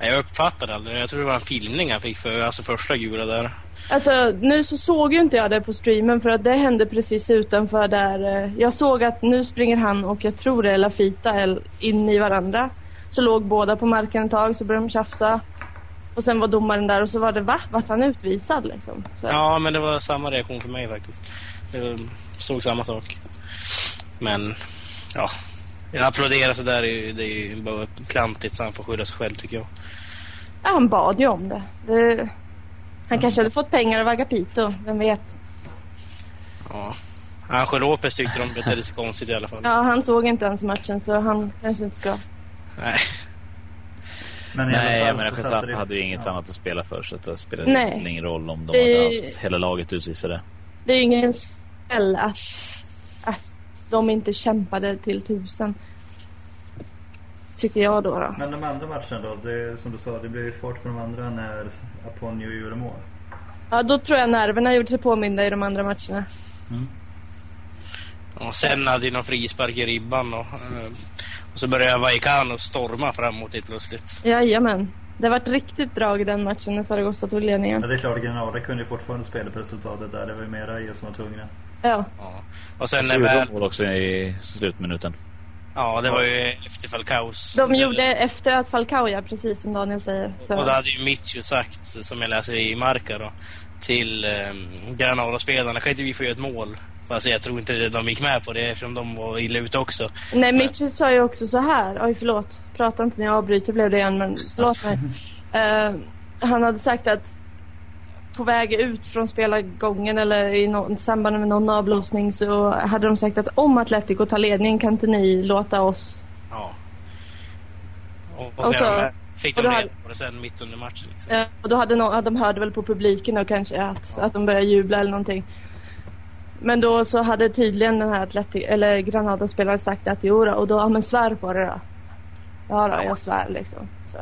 D: Nej, Jag uppfattade aldrig det. Jag tror det var en filmning han fick för alltså första gula där.
B: Alltså nu så såg ju inte jag det på streamen för att det hände precis utanför där. eh, Jag såg att nu springer han och jag tror det är Lafita el- in i varandra. Så låg båda på marken ett tag så började de tjafsa. Och sen var domaren där och så var det va? Vart han utvisad liksom? Så.
D: Ja, men det var samma reaktion för mig faktiskt. Jag såg samma sak. Men, ja. Att Applådera sådär är ju, det är ju bara klantigt så han får skylla sig själv tycker jag.
B: Ja, han bad ju om det. det... Han kanske hade fått pengar av Agapito, vem vet?
D: Ja. Angelopes tyckte de betedde sig konstigt i alla fall.
B: Ja, han såg inte ens matchen så han kanske inte ska.
D: Nej.
C: Men i alla
A: Nej, jag
C: fall
A: menar
C: så
A: Petrappa
C: satte det-
A: hade ju inget
C: ja.
A: annat att spela för så att det spelade
B: Nej.
A: egentligen ingen roll om de
B: Det är
A: hade
B: ju-
A: haft hela laget utvisade.
B: Det är ju ingen skäll att, att de inte kämpade till tusen. Tycker jag då. då.
C: Men de andra matcherna då? Det, som du sa, det blev ju fart på de andra när Aponio gjorde mål.
B: Ja, då tror jag nerverna gjorde sig påminda i de andra matcherna.
D: Och sen hade ju någon frispark i ribban och, eh, och så började Vaikano storma framåt helt plötsligt.
B: Jajamän. Det var ett riktigt drag i den matchen när Zaragoza tog
C: Ja,
B: ledningen.
C: det är klart, Granada kunde ju fortfarande spela på resultatet där. Det var ju mera EU som var tvungna.
B: Ja.
D: Ja. Och
A: Så
D: sen när
A: gjorde
D: väl,
A: de mål också i slutminuten.
D: ja det var ju efterfall kaos.
B: De gjorde efter att Falcao, ja, precis som Daniel säger.
D: Och det
B: Så.
D: hade ju Mitchu sagt, som jag läser i Marca då, till eh, Granada-spelarna, kan inte vi få göra ett mål? Fast jag tror inte de gick med på det eftersom de var illa ute också.
B: Nej, Mitchell sa ju också så här. Oj, förlåt. Prata inte när jag avbryter blev det igen, men förlåt mig. Eh, han hade sagt att på väg ut från spelargången eller i någon, samband med någon avblåsning så hade de sagt att om Atletico tar ledning kan inte ni låta oss...
D: Ja. Och, och,
B: Och
D: sen
B: så-
D: fick
B: och
D: de
B: då
D: reda
B: hade-
D: på det sen mitt under matchen. Liksom.
B: Eh, och då hade no- de hörde väl på publiken och kanske att, att de började jubla eller någonting. Men då så hade tydligen den här Atleti- eller Granada-spelaren sagt att jo då, och då, ja men svär på det då. Ja då, jag svär liksom. Så.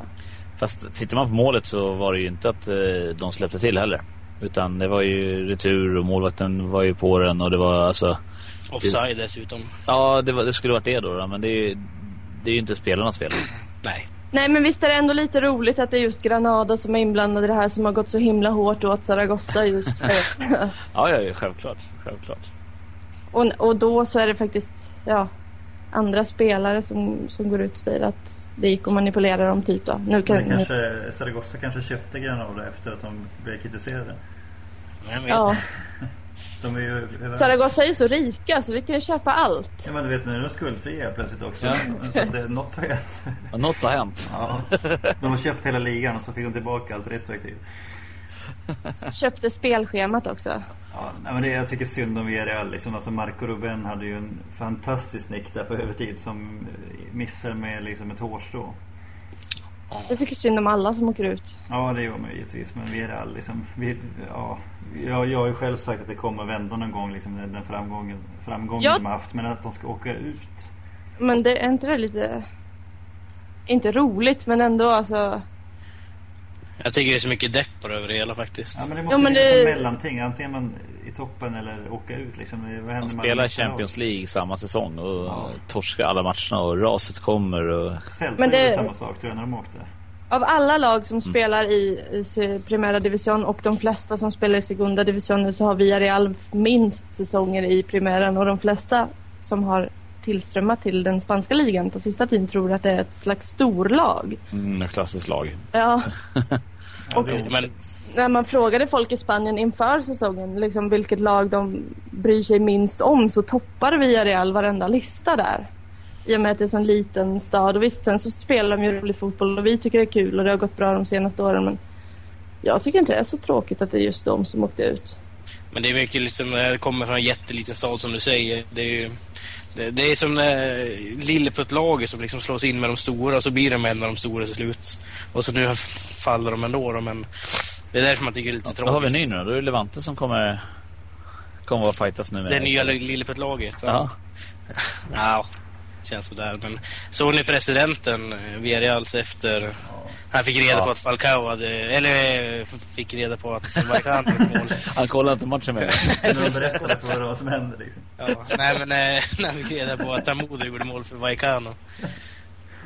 A: Fast tittar man på målet så var det ju inte att eh, de släppte till heller. Utan det var ju retur och målvakten var ju på den och det var alltså...
D: Offside dessutom.
A: Ja, det, var, det skulle varit det då, då men det är ju, det är ju inte spelarnas fel.
D: Nej.
B: Nej men visst är det ändå lite roligt att det är just Granada som är inblandad i det här som har gått så himla hårt åt Zaragoza just.
A: Ja, ja, ja, självklart. Självklart.
B: och, och då så är det faktiskt ja, andra spelare som, som går ut och säger att det gick att manipulera dem typ då. Nu kan,
C: Men kanske, Zaragoza kanske köpte Granada efter att de blev kritiserade.
D: Jag vet.
B: ja.
C: De är ju...
B: Zaragoza är ju så rika så vi kan ju köpa allt.
C: Ja, men du vet, nu är de skuldfria plötsligt också.
A: Ja.
C: Så att det, något har hänt.
A: Ja, Något har hänt.
C: Ja. De har köpt hela ligan och så fick de tillbaka allt retroaktivt.
B: Köpte spelschemat också.
C: Ja, nej, men det, jag tycker synd om Villarreal. Liksom. Alltså Marco Ruben hade ju en fantastisk nick där på övertid som eh, missar med liksom, ett hårstrå.
B: Jag tycker synd om alla som åker ut.
C: Ja, det gör man ju givetvis. Men Villarreal, liksom, vi, ja, jag, jag har ju själv sagt att det kommer vända någon gång, liksom, den den framgången, framgången
B: Ja.
C: de har haft. Men att de ska åka ut.
B: Men det är inte det lite... Inte roligt men ändå alltså.
D: Jag tycker det är så mycket depp över det hela faktiskt.
C: Ja, men det måste
B: men
C: finnas
B: det-
C: ett mellanting. Antingen man i toppen eller åka ut. Liksom. Det- Vad händer
A: De
C: man
A: spelar Champions League samma säsong och
C: Ja.
A: torskar alla matcherna och raset kommer. Och...
C: Celta
B: Men det-
C: gjorde samma sak tror jag när de åkte.
B: Av alla lag
C: Mm.
B: som spelar i, i se- Primera Division och de flesta som spelar i Segunda Division nu så har Villarreal minst säsonger i Primären och de flesta som har tillströmmat till den spanska ligan på sista tiden tror att det är ett slags storlag.
A: Mm, klassiskt lag.
B: Ja,
C: Ja, det
D: Jo,
C: är-
D: men
B: när man frågade folk i Spanien inför säsongen liksom vilket lag de bryr sig minst om så toppar Villarreal varenda lista där. I och med att det är en sån liten stad. Och visst, sen så spelar de ju rolig fotboll och vi tycker det är kul och det har gått bra de senaste åren. Men jag tycker inte det är så tråkigt att det är just de som åkte ut.
D: Men det är mycket liksom, när det kommer från en jätteliten stad som du säger. Det är ju, det, det är som eh, lilleputtlaget som liksom slås in med de stora och så blir de en av de stora till slut. Och så nu f- faller de ändå då, men det är därför man tycker det är lite
A: Då har vi en
D: tragiskt.
A: ny nu då. Då är det Levante som kommer, kommer att fightas nu med.
D: Det nya li- lilleputtlaget.
A: Ja.
D: ja. Känns sådär. Men såg ni presidenten, eh, Villarreals, efter han fick reda
A: Ja.
D: på att Falcao hade... Eller eh, fick reda på att Marcano hade mål.
A: Han kollar inte matchen med.
C: Men De berättade för vad som hände liksom.
D: Ja, nej men eh, när vi fick reda på att Amodo gjorde mål för Vaikano.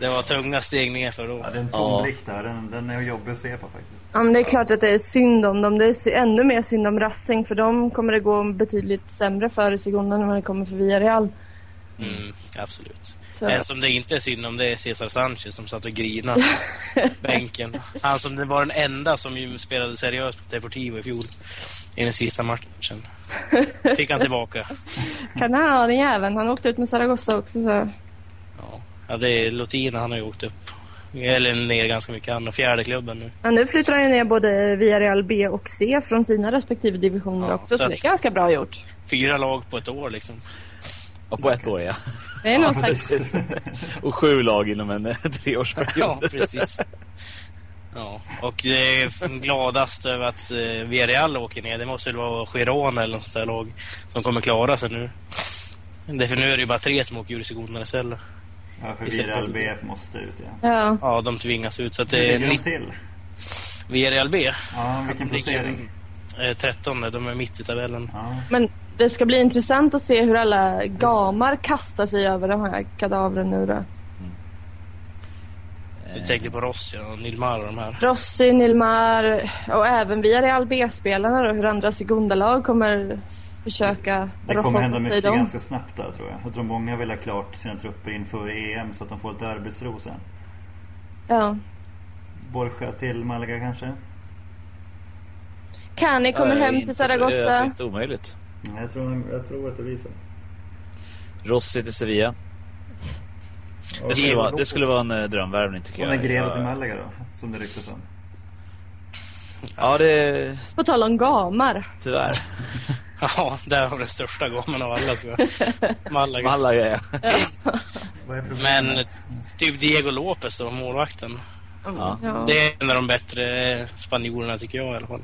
D: Det var tunga stegningar förra
C: Ja,
D: året.
C: det är en
A: Ja.
C: tomrikt där. Den, den är jobbig att se på faktiskt.
B: Ja, men det är klart att det är synd om dem. Det är sy- ännu mer synd om Racing för dem kommer det gå betydligt sämre för i sekunden än vad det kommer för Villarreal.
D: Mm, absolut.
B: Så,
D: En som det inte är synd om det är Cesar Sanchez som satt och grinade på bänken. Han som det var den enda som ju spelade seriöst på Deportivo i fjol. I den sista matchen. Fick han tillbaka.
B: kan han ha den jäveln? Han åkte ut med Zaragoza också. Så.
D: Ja, ja det är Lotina han har ju åkt upp. Eller ner ganska mycket. Han har fjärde klubben nu.
B: Ja, nu flyttar han ju ner både Villarreal B och C från sina respektive divisioner
D: Ja,
B: också. Så,
D: så
B: det
D: att-
B: är ganska bra gjort.
D: Fyra lag på ett år liksom.
A: Ja, på ett år ja.
B: Det är någon slags...
C: precis.
A: Och sju lag inom en eh,
D: Ja,
A: treårsperiod.
D: precis. Ja, och det är gladast över att eh, Villarreal åker ner. Det måste väl vara Girona eller något sånt där lag som kommer klara sig nu. Det för nu är det ju bara tre som åker ur i sekunderna istället.
C: Ja, för
D: Vi ser
C: Viral
D: positivt.
C: BF måste ut ja.
B: Ja.
D: Ja, de tvingas ut. Så att
C: Hur
D: det är
C: ligger de
D: nitt-
C: till?
D: Villarreal B.
C: Ja, vilken
D: De ligger
C: placering?
D: eh, 13, de är mitt i tabellen.
C: Ja.
B: Men det ska bli intressant att se hur alla gamar kastar sig över de här kadavren nu då.
A: Eh,
D: Du tänker på Rossi och Nilmar och de här.
B: Rossi, Nilmar och även via Real B-spelarna då, hur andra sekundalag kommer försöka
C: Det
B: roffa
C: kommer hända
B: åt sig
C: mycket
B: dem.
C: ganska snabbt där tror jag. Jag tror många vill ha klart sina trupper inför EM så att de får lite arbetsro sen.
B: Ja.
C: Borja till Malaga kanske?
B: Cani kommer
A: Eh,
B: hem
A: inte
B: till
A: så- Det är alltså
B: Zaragoza.
A: inte omöjligt.
C: Nej, jag tror, jag tror att det blir så.
A: Rossi till Sevilla. Det skulle, vara, det skulle vara en eh, drömvärvning tycker
C: Och
A: jag.
C: Negredo till
A: ja,
C: Malaga då, som det ryktas om.
A: ja, det...
B: På tal om gamar.
A: Tyvärr.
D: Ja, där har vi den största gamen av alla tror jag. Malaga.
A: Malaga ja.
C: Vad är
D: Men
C: problemet?
D: typ Diego Lopez då, målvakten.
A: Ja.
B: Ja.
D: Det är en av de bättre spanjorerna tycker jag i alla fall.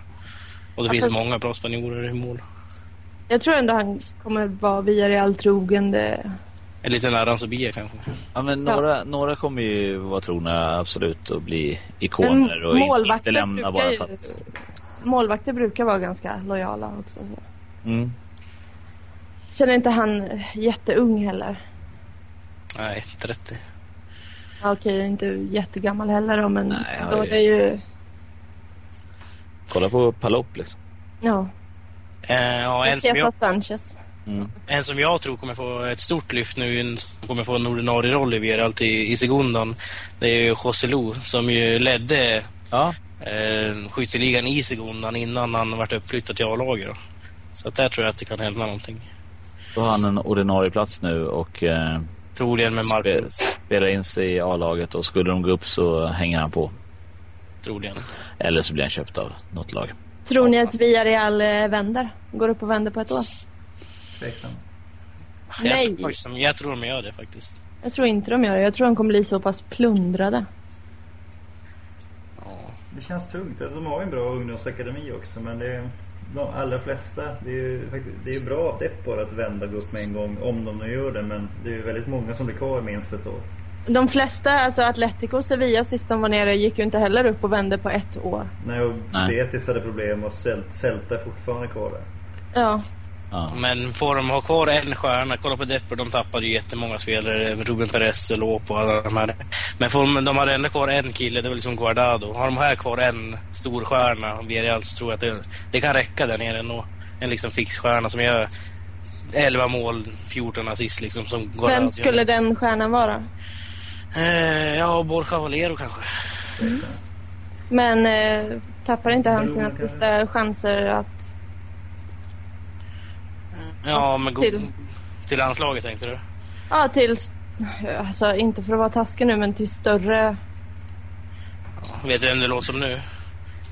D: Och det finns
B: Alltså-
D: många bra spanjorer i mål.
B: Jag tror ändå han kommer vara via Real trogen. Det...
D: En liten Aran Sobia kanske.
A: ja men
B: Ja.
A: några, några kommer ju vara trogna absolut och bli ikoner och in,
B: Men
A: inte
B: målvakter
A: lämna
B: brukar
A: bara
B: ju-
A: för att...
B: Målvakter brukar vara ganska lojala också.
A: Mm.
B: Sen är inte han jätteung heller.
D: Nej, 30.
B: Ja, Okej, inte jättegammal heller då, men
A: Nej, han
B: då
A: är
B: är det ju...
A: Kolla på Palop liksom.
B: Ja,
D: Eh, ja, en, som jag,
B: Cesar Sanchez.
A: Mm.
D: en som jag tror kommer få ett stort lyft nu, en som kommer få en ordinarie roll i Veralt i, i Segundan, det är ju José Lu som ju ledde
A: Ja,
D: eh, skytteligan i Segundan innan han vart uppflyttad till A-laget. då. Så att där tror jag att det kan hända någonting.
A: då har han en ordinarie plats nu och eh,
D: Troligen med
A: spe,
D: Marco.
A: spelar in sig i A-laget och skulle de gå upp så hänger han på.
D: Troligen.
A: Eller så blir han köpt av något lag.
B: Tror ni att Villarreal eh, vänder? Går upp och vänder på ett år?
C: Tveksamt.
D: Jag
B: Nej,
D: tror, faktiskt- jag tror de gör det faktiskt.
B: jag tror inte de gör det. Jag tror de kommer bli så pass plundrade.
D: Ja.
C: Det känns tungt. Alltså, De har ju en bra ungdomsakademi också men det är, de allra flesta, det är ju faktiskt, det är ju bra av Depor att vända och gå upp med en gång om de nu gör det men det är ju väldigt många som blir kvar minst ett år.
B: De flesta, alltså Atletico och Sevilla sist de var nere, gick ju inte heller upp och vände på ett år.
C: När jag
A: Nej.
C: Betis hade problem och Cel- Celta är fortfarande kvar där.
B: Ja,
A: Ja.
D: Men får de ha kvar en stjärna, kolla på Depper, de tappade ju jättemånga spelare, Ruben Perez, Lopo och alla de här. Men får de, de hade ändå kvar en kille, det var liksom Guardado. Har de här kvar en stor stjärna, Villarreal, så tror jag att det, det kan räcka där nere ändå. En liksom fix stjärna som gör 11 mål, 14 assist liksom som Guardado
B: vem skulle
D: gör.
B: den stjärnan vara?
D: Eh, ja, Borja Valero kanske.
B: Men eh, tappar inte han sina
C: Beroende kanske.
B: sista chanser att...
D: Ja, men go-
B: Till.
D: till landslaget tänkte du?
B: Ja, till... Alltså inte för att vara taskig nu, men till större...
D: Vet du vem det låter som nu?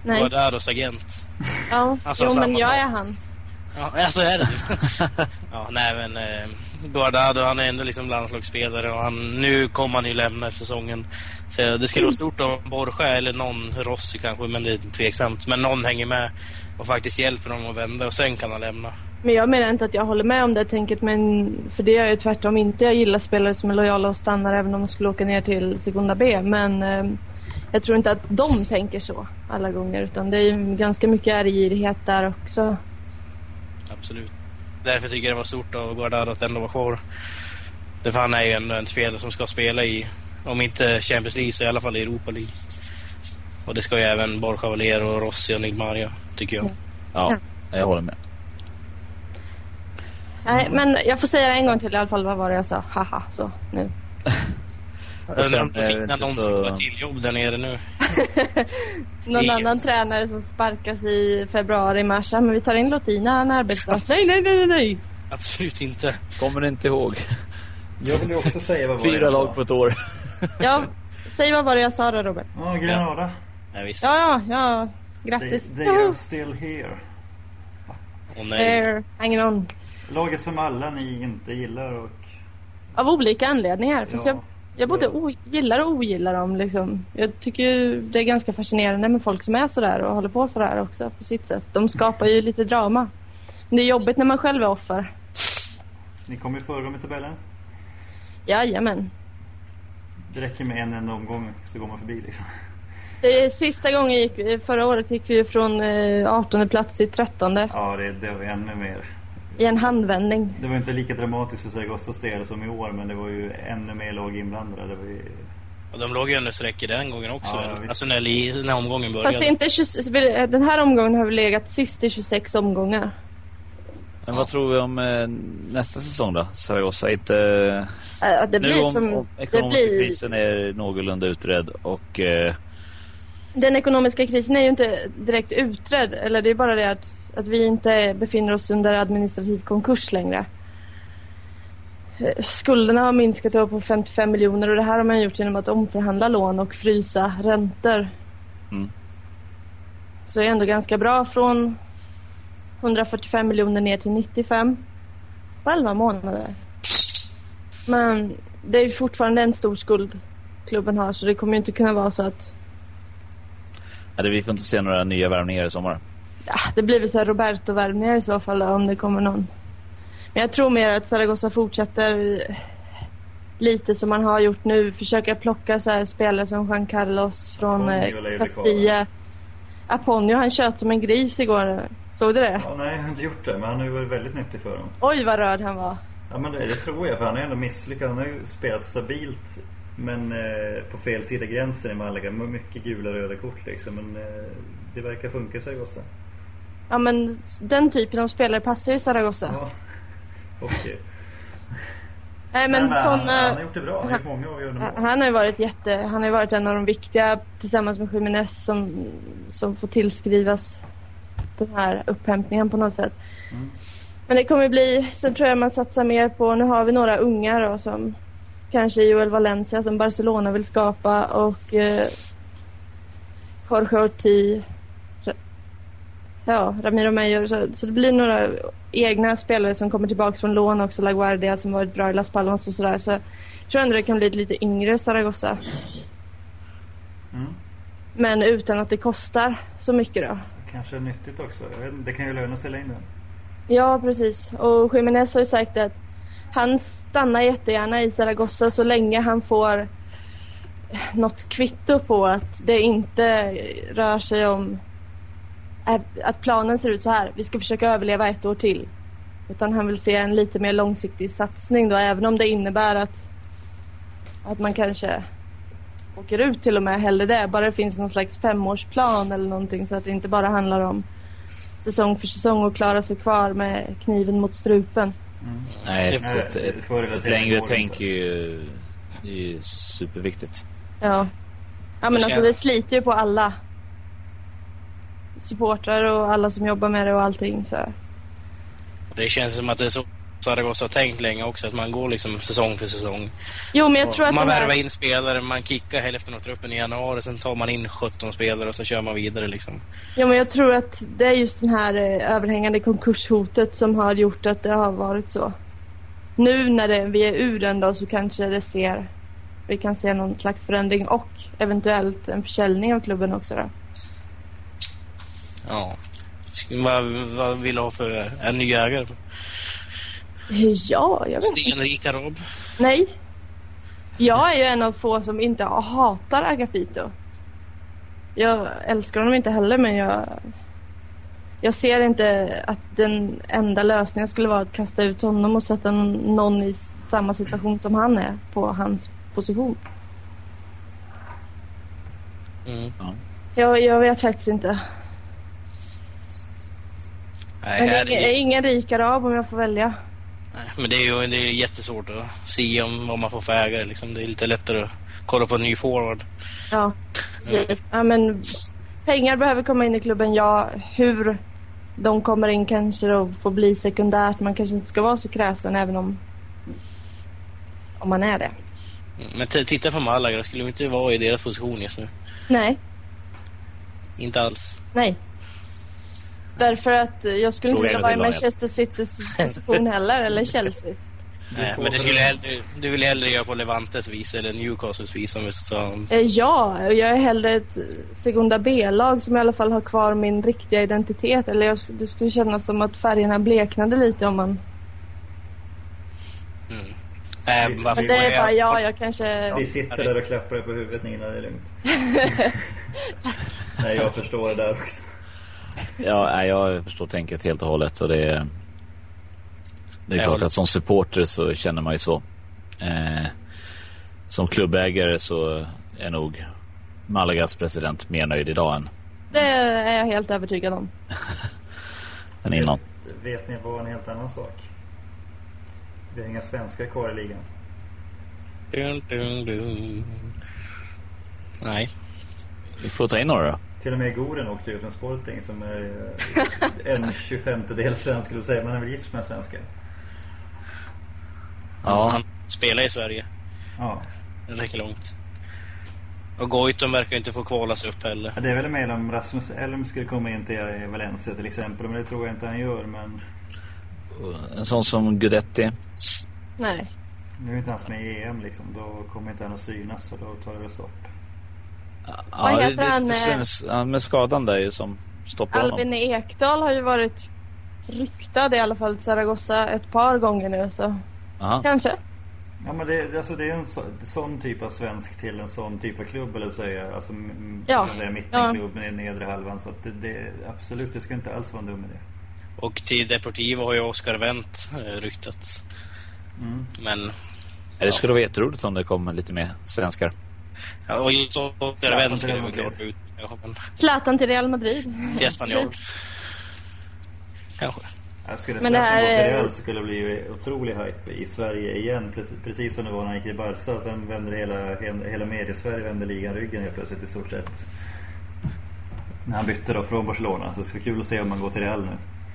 B: Nej.
D: Guardados agent.
B: Ja,
D: Alltså,
B: jo
D: samma
B: men jag
D: sak.
B: är han.
D: Ja, ja, så är det ja, nej men eh, Guardado, han är ändå liksom landslagsspelare och han, nu kommer han ju lämna efter säsongen. Så det skulle vara stort om Borja eller någon, Rossi kanske, men det är tveksamt. Men någon hänger med och faktiskt hjälper dem att vända och sen kan han lämna.
B: Men jag menar inte att jag håller med om det tänket, men för det gör jag ju tvärtom inte. Jag gillar spelare som är lojala och stannar även om de skulle åka ner till Segunda B. Men eh, jag tror inte att de tänker så alla gånger, utan det är ju ganska mycket ärgirighet där också.
D: Absolut. Därför tycker jag det var stort av Guardado att ändå vara kvar. Därför han är ju ändå en spelare som ska spela i Om inte Champions League så i alla fall Europa League. Och det ska ju även Borchavaler och Rossi och Nigmar göra, tycker jag.
A: Ja, jag håller med.
B: Nej, men jag får säga en gång till i alla fall. Vad var det jag sa? Haha, så nu.
A: Och
D: Undrar
A: sen
D: om det
A: är det
D: finns
A: inte
D: någon som får
A: så...
D: ett till jobb där nere nu.
B: Någon
D: Ingen.
B: annan tränare som sparkas i februari, mars. Ja, men vi tar in Lotina, en arbetsplats. Nej, nej, nej, nej, nej.
D: Absolut inte.
A: Kommer inte ihåg.
C: Jag vill ju också säga vad var det
A: Fyra
C: jag sa.
A: lag på ett år.
B: Ja, säg vad var det jag sa då, Robert?
C: Ja, Granada.
D: Nej, visst.
B: Ja, ja, ja.
C: They,
B: Grattis.
C: they are still here.
D: Åh, nej.
B: There, hanging on.
C: Laget som alla ni inte gillar och...
B: Av olika anledningar. Fast
C: Ja.
B: jag, jag både o- gillar och ogillar dem. Liksom. Jag tycker ju det är ganska fascinerande med folk som är sådär och håller på sådär också på sitt sätt. De skapar ju lite drama. Men det är jobbigt när man själv är offer.
C: Ni kom ju före dem i tabellen.
B: Jajamän.
C: Det räcker med en enda omgång så går man förbi liksom.
B: Det är Eh, sista gången gick, vi- förra året gick vi från eh, 18 plats till 13
C: Ja, det, det var ännu mer.
B: i en handvändning.
C: Det var inte lika dramatiskt för Zaragozas del som i år men det var ju ännu mer lag inblandade. Det var ju...
D: Och de låg ju under strecket den gången också.
C: Ja,
D: väl?
C: visst.
D: alltså när, li- när omgången började.
B: Fast inte 20, den här omgången har vi legat sist i 26 omgångar.
A: Men vad tror vi om eh, nästa säsong då? Saragossa? Inte...
B: Eh, att Det
A: nu
B: blir
A: om,
B: som...
A: om
B: det
A: ekonomiska
B: blir-
A: krisen är någorlunda utredd och eh,
B: Den ekonomiska krisen är ju inte direkt utredd. Eller det är bara det att, att vi inte befinner oss under administrativ konkurs längre. Eh, Skulderna har minskat upp på 55 miljoner och det här har man gjort genom att omförhandla lån och frysa räntor.
A: Mm.
B: Så det är ändå ganska bra från 145 miljoner ner till 95. På 11 månader. Men det är ju fortfarande en stor skuld klubben har så det kommer ju inte kunna vara så att
A: ja, det- vi får inte se några nya värvningar i sommar.
D: Mm.
B: Ja, Ah, det blir väl så här Roberto-värvningar i så fall då, om det kommer någon. Men jag tror mer att Zaragoza fortsätter eh, lite som man har gjort nu. Försöka plocka så här spelare som Juan Carlos från eh,
C: Aponio lär ju bli kvar,
B: Castilla. Aponio han tjöt som en gris igår. Såg du det?
C: Ja, nej, jag har inte gjort det men han har ju varit väldigt nyttig för dem.
B: Oj vad röd han var.
C: Ja men det, det tror jag för han har ju ändå misslyckats. Han har ju spelat stabilt men eh, på fel sida gränsen i Malaga. Med Mycket gula och röda kort liksom. Men eh, det verkar funka i Zaragoza.
B: Ja men den typen av spelare passar ju Zaragoza.
C: Ja. Och, eh,
B: Nej men,
C: han, han,
B: såna...
C: han har gjort det bra. Han har gjort många avgörande mål.
B: Han har ju varit jätte, han har ju varit en av de viktiga tillsammans med Jiménez som, som får tillskrivas den här upphämtningen på något sätt.
C: Mm.
B: Men det kommer bli, sen tror jag man satsar mer på, nu har vi några unga då som kanske Joel Valencia som Barcelona vill skapa och eh, Jorge Ortiz. Ra- Ja, Ramiro Mayor. Så, så det blir några egna spelare som kommer tillbaka från lån också. LaGuardia som varit bra i Las Palmas och sådär. Så jag tror ändå det kan bli ett lite yngre Zaragoza.
C: Mm.
B: Men utan att det kostar så mycket då.
C: Kanske är nyttigt också. Jag vet, inte, det kan ju löna sig i längden.
B: Ja, precis. Och Jiménez har ju sagt att han stannar jättegärna i Zaragoza så länge han får något kvitto på att det inte rör sig om att planen ser ut så här. Vi ska försöka överleva ett år till. Utan han vill se en lite mer långsiktig satsning då, även om det innebär att, att man kanske åker ut till och med hellre det. Bara det finns någon slags femårsplan eller någonting så att det inte bara handlar om säsong för säsong och klara sig kvar med kniven mot strupen.
C: Mm.
A: Nej,
D: Det
A: ett, ett,
C: Nej,
A: ett,
C: förr eller senare
A: längre
C: går det
A: tänk
C: inte.
A: är ju, det är ju superviktigt.
B: Ja. Ja men
D: Det
B: alltså
D: känns-
B: det sliter ju på alla. Supportrar och alla som jobbar med det och allting så.
D: Det känns som att det är så Zaragoza har tänkt länge också. Att man går liksom säsong för säsong.
B: Jo men jag tror att
D: man
B: de här-
D: värvar in spelare, man kickar hälften av truppen i januari. Sen tar man in 17 spelare och så kör man vidare liksom.
B: Ja, men jag tror att det är just det här eh, överhängande konkurshotet som har gjort att det har varit så. Nu när det, vi är ur den då så kanske det ser, vi kan se någon slags förändring och eventuellt en försäljning av klubben också då.
D: Ja. Vad, vad vill du ha för en ny ägare?
B: Ja, jag vet inte.
D: Stenrik arab.
B: Nej. Jag är ju en av få som inte hatar Agapito. Jag älskar honom inte heller men jag jag ser inte att den enda lösningen skulle vara att kasta ut honom och sätta någon i samma situation som han är på hans position.
D: Mm.
B: Jag, jag vet faktiskt inte.
D: Nej,
B: Men
D: här,
B: ingen, ingen rik arab om jag får välja.
D: nej, men det är ju det är ju jättesvårt att se om, om man får för ägare. Liksom. Det är lite lättare att kolla på en ny forward.
B: Ja, precis. Ja, men pengar behöver komma in i klubben, ja. Hur de kommer in kanske då får bli sekundärt. Man kanske inte ska vara så kräsen även om, om man är det.
D: Men t- titta på Malaga, de skulle ju inte vara i deras position just nu.
B: Nej,
D: Inte alls.
B: nej. Därför att eh, jag skulle inte
A: Fråga
B: vilja
A: hela
B: vara i
A: tiden, ja.
B: Manchester Citys position heller, eller Chelseas.
D: Nej, men det skulle hellre, du vill hellre göra på Levantes vis eller Newcastles vis om vi ska ta mm.
B: Eh, Ja, och jag är hellre ett Segunda B-lag som i alla fall har kvar min riktiga identitet. Eller jag, det skulle kännas som att färgerna bleknade lite om man...
D: Mm. Äh, varför
B: Men det är
D: jag-
B: bara jag, jag kanske...
C: Vi sitter där och klappar er på huvudet Nina, det är lugnt. Nej jag förstår det där också.
A: Ja, nej, jag förstår tänket helt och hållet. Så det, är- det är
D: Jag
A: klart
D: håller-
A: att som supporter så känner man ju så. Eh, som klubbägare så är nog Malagas president mer nöjd idag än,
B: Det är jag helt övertygad om.
A: än innan.
C: Vet ni vad en helt annan sak? Vi har inga svenskar kvar i ligan.
D: Dun, dun, dun. Nej.
A: Vi får ta in några då.
C: Till och med Goren åkte ut en Sporting som är eh, en 25 del svensk, skulle jag säga. Men han är väl gift med en svenska.
A: Ja,
D: Han spelar i Sverige.
C: Ja.
D: Det räcker långt. Och Goitom verkar inte få kvala sig upp heller.
C: Ja, Det är väl mer om Rasmus Elm skulle komma in till eh, Valencia till exempel. Men det tror jag inte han gör. Men
A: en sån som Gudetti.
B: Nej.
C: nu är inte han med i EM liksom. Då kommer inte han att synas så då tar det väl stopp.
A: Ja, det-
B: heter
A: det-
B: han,
A: det
B: eh?
A: känns- han med skadan där ju som stoppar honom.
B: Albin Ekdal har ju varit ryktad i alla fall till Zaragoza ett par gånger nu så
A: Aha.
B: kanske.
C: Ja men det, alltså det är en så, sån typ av svensk till en sån typ av klubb eller säga. Alltså m-
B: Ja.
C: som det är
B: Ja.
C: mittenklubb i nedre halvan. Så att det, det, absolut, det ska inte alls vara en dum idé.
D: Och till Deportivo har ju Oscar Wendt eh, ryktats.
C: Mm.
D: Men...
A: Ja, Det skulle vara jätteroligt om det kom lite mer svenskar.
D: Ja, och just Oscar
C: Zlatan
D: Wendt
C: till
D: skulle
C: Real
D: vara
C: Madrid.
D: klart ut. Ja, men
B: Zlatan till Real Madrid.
D: Till Espanyol. Kanske.
C: Ja, Skulle
B: Men det
C: Zlatan
B: här
C: gå till
B: är-
C: Real så skulle det bli otrolig hype i Sverige igen. Precis, precis som det var när han gick i Barca. Sen vände hela, hela, hela mediesverige vände ligan ryggen helt plötsligt i stort sett. När han bytte då från Barcelona. Så det ska bli kul att se om han går till Real nu.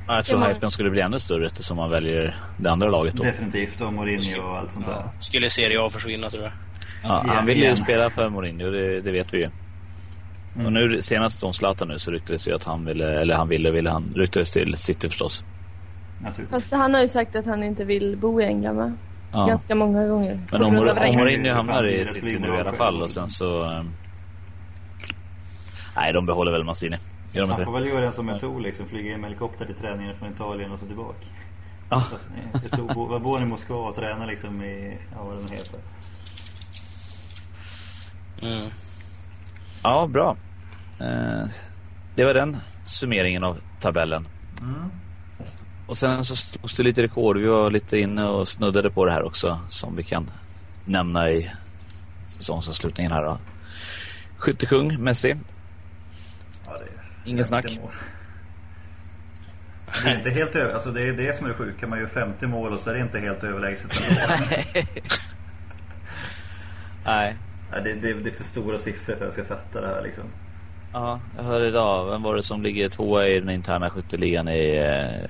A: Ja, Jag tror
B: Ja.
A: hypen skulle bli ännu större eftersom man väljer det andra laget då.
C: Definitivt, och Mourinho och allt sånt där.
D: Ja. Skulle Serie A försvinna tror jag.
A: Ja,
C: Ja,
A: han ville ju
C: igen.
A: spela för Mourinho, det, det vet vi ju.
C: Mm.
A: Och nu senast om Zlatan nu så ryktades ju att han ville, eller han ville, ville han ryktades till City förstås.
C: Naturligtvis.
B: Fast han har ju sagt att han inte vill bo i England va?
A: Ja.
B: Ganska många gånger.
A: Men om,
B: På grund av
A: om
B: regn.
A: Mourinho hamnar
C: Det är
A: i
C: ett
A: City nu
C: flygbolag
A: i alla
C: för-
A: fall och sen så... ehm, Nej, de behåller väl Mancini. Gör de inte
C: Han får
A: det?
C: väl göra den som en Tor liksom, flyga in med helikopter till träningen från Italien och så tillbaka.
A: Ja.
C: Så, eh, jag tog- Var bor i Moskva och tränar liksom i, ja vad den heter.
D: Mm.
A: ja, bra. Eh, det var den summeringen av tabellen. Och sen så slogs det lite rekord. Vi var lite inne och snuddade på det här också som vi kan nämna i säsongsavslutningen här då. Skyttekung Messi.
C: Ja, det är
A: Ingen
C: 50
A: snack.
C: mål. Det är inte helt över, alltså det är det som är det sjuka. Man gör 50 mål och så är det inte helt överlägset ändå.
A: Nej.
C: Ja, det, det, det är för stora siffror för att jag ska fatta det här liksom.
A: Ja, jag hörde idag. Vem var det som ligger tvåa i den interna skytteligan i eh,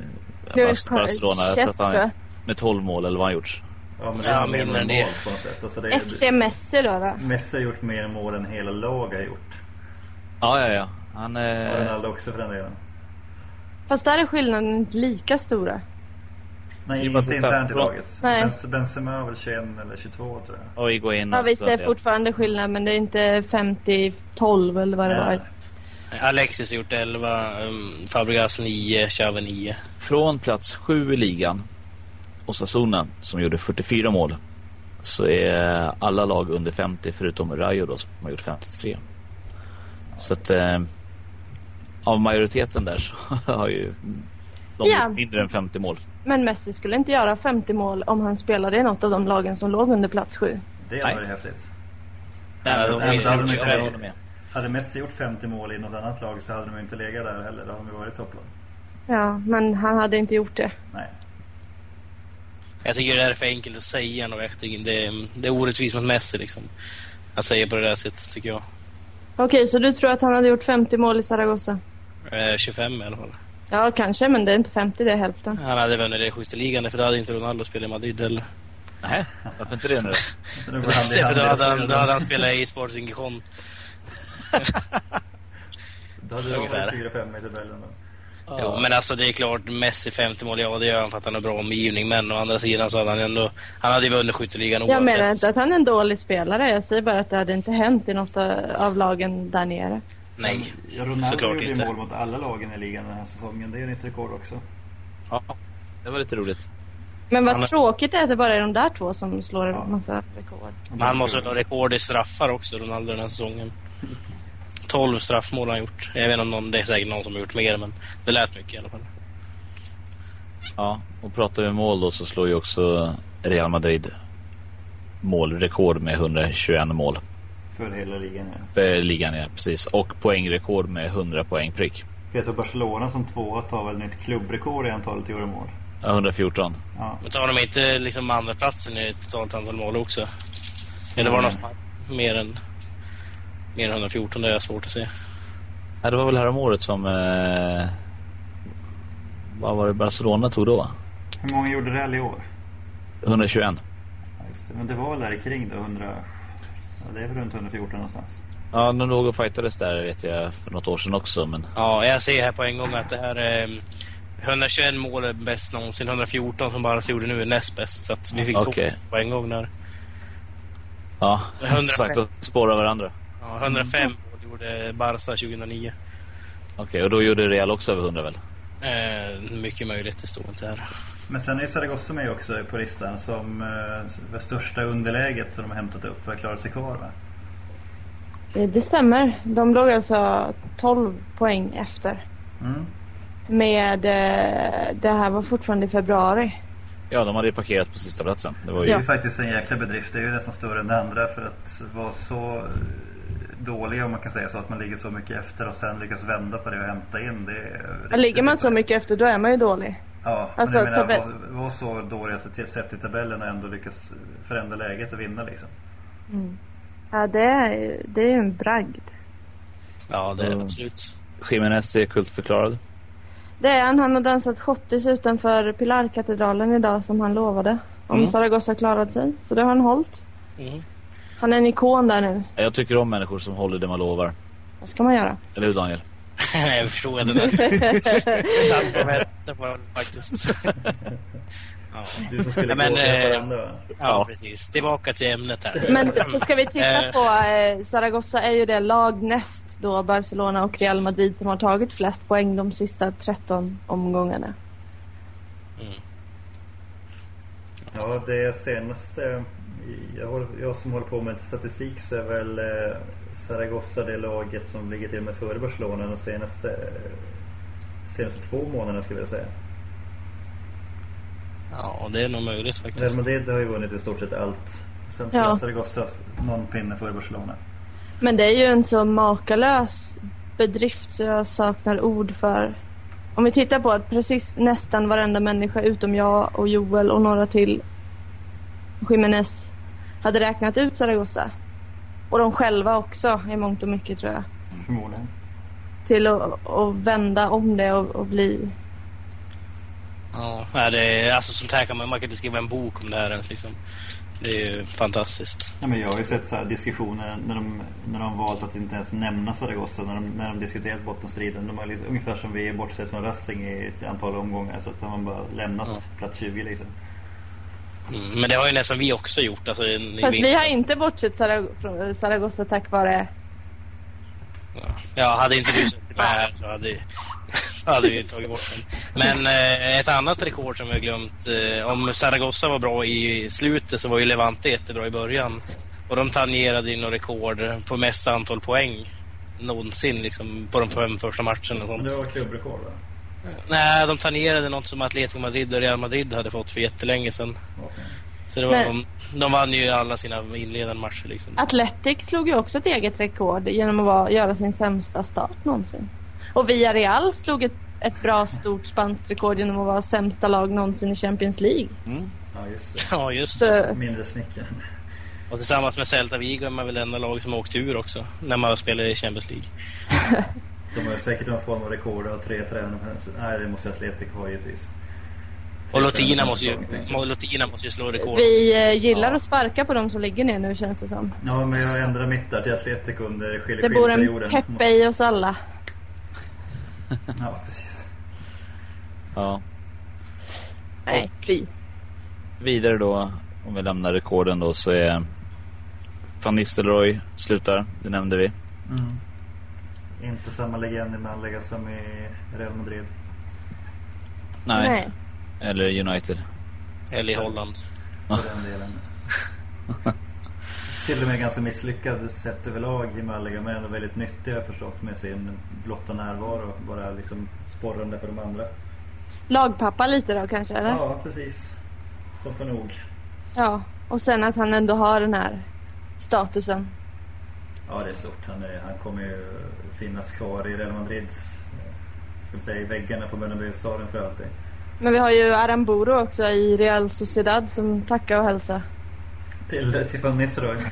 B: Det var
A: Bas- Barcelona? Jag tror att han-
B: Chesco.
A: Med 12 mål eller vad han gjort.
C: Ja men det
D: Ja,
C: är mer än
D: mindre än det.
C: normalt på något sätt. Alltså det,
B: FC
C: det,
B: Messi då, då.
C: Messi har gjort mer mål än hela lag har gjort.
A: Ja, ja, ja. Han,
C: Och
A: eh,
C: Ronaldo också för den delen.
B: Fast där är skillnaden inte lika stora.
A: Det
C: Nej,
A: är bara
C: inte
A: att titta
C: internt i
A: på dem.
C: laget.
B: Nej.
C: Bens- Benzema har väl 21 eller 22 tror jag.
A: och gå in
B: Ja
A: och-
B: visst, det är fortfarande skillnad men det är inte 50-12 eller vad det
C: Nej.
B: var.
D: Alexis har gjort 11, um, Fabregas 9, Xavi 9.
A: Från plats sju i ligan, Osasuna, som gjorde 44 mål, så är alla lag under 50 förutom Rayo då som har gjort 53. Så att eh, av majoriteten där så har ju de
B: Ja.
A: gjort mindre än 50 mål.
B: Men Messi skulle inte göra 50 mål om han spelade i något av de lagen som låg under plats 7.
C: Det
A: Nej.
C: hade varit häftigt.
A: Nej,
C: Nej,
A: de
C: men
A: har inte
C: de
A: gjort
C: är
A: så,
C: inte-
A: jag håller med.
C: Hade Messi gjort 50 mål i något annat lag så hade de ju inte legat där heller. Då hade de ju varit topplag.
B: Ja, men han hade inte gjort det.
C: Nej.
D: Jag tycker det där är för enkelt att säga ändå. Jag tycker det, är- det är orättvist mot Messi liksom. Att säga på det där sättet tycker jag.
B: Okej, så du tror att han hade gjort 50 mål i Zaragoza?
D: Eh, 25 i alla fall.
B: Ja, kanske, men det är inte 50, det är hälften.
D: Han hade vunnit det skytteligan för då hade inte Ronaldo spelat i Madrid heller.
A: Nej, varför inte det nu då?
C: Så nu går hand i
D: För
C: hand
D: då
C: i
D: hade han,
C: resten.
D: då hade han spelat i Sporting Gijon.
C: Då hade de
D: Ungefär.
C: varit 4-5 i tabellen. då.
D: Jo, men alltså det är klart, Messi 50 mål, ja det gör han för att han har bra omgivning. Men å andra sidan så hade han ändå... Han hade ju vunnit skytteligan
B: Jag
D: oavsett.
B: menar inte att han är en dålig spelare. Jag säger bara att det hade inte hänt i något av lagen där nere.
D: Nej.
C: Ja, Ronaldo
D: Såklart
C: gjorde ju
D: inte.
C: mål mot alla lagen i ligan den här säsongen. Det är ju ett rekord också.
A: Ja, det var lite roligt.
B: Men vad
D: Han är-
B: tråkigt det är att det bara är de där två som slår
C: Ja.
B: en massa rekord.
D: Men han måste ha rekord i straffar också, Ronaldo, den här säsongen. 12 straffmål har han gjort. Jag vet inte om någon, det är säkert någon som har gjort mer, men det lät mycket i alla fall.
A: Ja, och pratar vi mål då så slår ju också Real Madrid målrekord med 121 mål.
C: För hela ligan ja.
A: För eh, ligan ja, precis. Och poängrekord med 100 poäng prick.
C: Peter Barcelona som tvåa tar väl nytt klubbrekord i antalet gjorda mål.
A: Ja, 114.
C: Ja.
D: Men tar de inte liksom andra platsen i totalt antal mål också? Eller var det något
C: Mm.
D: mer än, mer än 114? Det är svårt att se.
A: Ja, det var väl häromåret som... Eh, vad var det Barcelona tog då? va?
C: Hur många gjorde Real i år?
A: 121.
C: Ja, just det. Men det var väl där kring då, 100... Ja, det är väl runt 114 någonstans.
A: Ja, de låg och fightades där vet jag för något år sedan också. Men
D: Ja, jag ser här på en gång att det här är 121 mål är bäst någonsin. 114 som Barca gjorde nu är näst bäst. Så att vi fick
A: Okej.
D: två på en gång där.
A: ja,
D: 105.
A: som sagt att spåra varandra.
D: Ja, 105 mål gjorde Barca 2009.
A: Okej, och då gjorde Real också över 100 väl?
D: Eh, mycket möjligt, det står inte här.
C: Men sen är ju Zaragoza med också på listan som eh, det största underläget som de har hämtat upp för att klara sig kvar va?
B: Eh, Det stämmer. De låg alltså 12 poäng efter.
C: Mm.
B: Med, eh, det här var fortfarande i februari.
A: Ja, de hade ju parkerat på sista platsen. Det var ju...
C: Det är
B: Ja.
C: ju faktiskt en jäkla bedrift. Det är ju nästan större än det andra för att vara så eh, dåliga om man kan säga så. Att man ligger så mycket efter och sen lyckas vända på det och hämta in. Det är
B: Ja,
C: riktigt
B: ligger man så
C: imponerande.
B: mycket efter då är man ju dålig.
C: Ja,
B: Alltså,
C: men jag menar
B: tabell-
C: var, var så dåliga så till- sett i tabellen och ändå lyckas förändra läget och vinna liksom.
B: Mm. Ja, det är, det är ju en bragd.
D: Ja, det är
A: Mm.
D: absolut.
A: Jiménez är kultförklarad.
B: Det är han. Han har dansat schottis utanför Pilarkatedralen idag som han lovade. Om
D: Mm.
B: Zaragoza klarade sig. Så det har han hållit.
D: Mm.
B: Han är en ikon där nu.
A: Jag tycker om människor som håller det man lovar.
B: Vad ska man göra?
A: Eller hur Daniel?
D: jag förstår det där. Jag satt på väntan på den faktiskt. ja.
C: Du som skulle
D: Ja, men,
C: gå till
D: eh,
C: varandra va?
D: ja, precis. Tillbaka till ämnet här.
B: Men då ska vi titta
D: Eh.
B: på eh, Zaragoza är ju det lag näst då Barcelona och Real Madrid som har tagit flest poäng de sista 13 omgångarna.
D: Mm.
C: Ja, det senaste... Jag, håller, jag som håller på med statistik så är väl eh, Zaragoza det laget som ligger till och med före Barcelona de senaste, eh, senaste två månaderna skulle jag säga.
D: Ja, det är nog möjligt
C: Real
D: faktiskt.
C: Madrid har ju vunnit i stort sett allt. Sen tror jag
B: Ja.
C: Zaragoza någon pinne före Barcelona.
B: Men det är ju en så makalös bedrift så jag saknar ord för. Om vi tittar på att precis nästan varenda människa utom jag och Joel och några till Jiménez hade räknat ut Zaragoza. Och de själva också i mångt och mycket tror jag.
C: Förmodligen.
B: Till att, att vända om det och, och bli...
D: Ja, nej, det är, alltså sånt här kan man, man kan inte skriva en bok om det här ens liksom. Det är ju fantastiskt.
C: Ja, men jag har ju sett så här diskussioner när de, när de valt att inte ens nämna Zaragoza när de, när de diskuterat bottenstriden. De har liksom, ungefär som vi är bortsett från Racing i ett antal omgångar så att de har bara lämnat
D: Ja.
C: plats 20 liksom.
D: Mm, men det har ju nästan vi också gjort. Alltså, i- i
B: Fast vi
D: vinter.
B: har inte bortsett Zarag- från Zaragoza tack vare...
D: Ja, hade inte du suttit med här så hade, hade vi tagit bort den. Men eh, ett annat rekord som jag glömt. Eh, om Zaragoza var bra i slutet så var ju Levante jättebra i början. Och de tangerade ju något rekord på mest antal poäng någonsin liksom, på de fem första matcherna. Och
C: Men
D: sånt.
C: det var klubbrekord va?
D: Nej, de tangerade något som Atletico Madrid och Real Madrid hade fått för jättelänge sedan.
C: Vad fan.
D: Så det var,
B: Men-
D: de, de vann ju alla sina inledande matcher liksom.
B: Atletic slog ju också ett eget rekord genom att vara, göra sin sämsta start någonsin. Och Villarreal slog ett, ett bra stort spanskt rekord genom att vara sämsta lag någonsin i Champions League.
C: Ja, just
D: Ja, just det.
B: Så,
C: det. Mindre snickaren.
D: Och tillsammans med Celta Vigo är man väl enda lag som har åkt ur också. När man spelar i Champions League.
C: De har ju säkert någon form av rekord av tre tränare. Nej, det måste Atletic ha givetvis. Tre
D: Och Lotina
C: tränare
D: måste ju,
C: på säsong, tänker jag.
D: Mo- Lotina måste ju slå rekord.
B: vi eh, gillar
D: Ja.
B: att sparka på dem som ligger ner nu känns det som.
C: Ja, men jag ändrar mitt där till Atletic under
B: Det bor en
C: skiljeperioden.
B: Peppe i oss alla.
C: Ja, precis.
A: Ja.
B: Nej, fy.
A: Vidare då, om vi lämnar rekorden då, så är Van Nistelrooy slutar, det nämnde vi.
C: Mm. Inte samma legend i Malaga som i Real Madrid.
A: Nej. Eller United.
D: Eller i Holland.
C: För den delen. Till och med ganska misslyckad sett överlag i Malaga men ändå väldigt nyttig har jag förstått med sin blotta närvaro och bara liksom sporrande för de andra.
B: Lagpappa lite då kanske eller?
C: Ja, precis. Som för nog.
B: Ja, och sen att han ändå har den här statusen.
C: Ja, det är stort. Han, är, han kommer ju finnas kvar i Real Madrids, eh, ska man säga, i väggarna på Bernabéu-stadion för alltid.
B: Men vi har ju Aramburu också i Real Sociedad som tackar och hälsar.
C: Till, till Van Nistelrooy.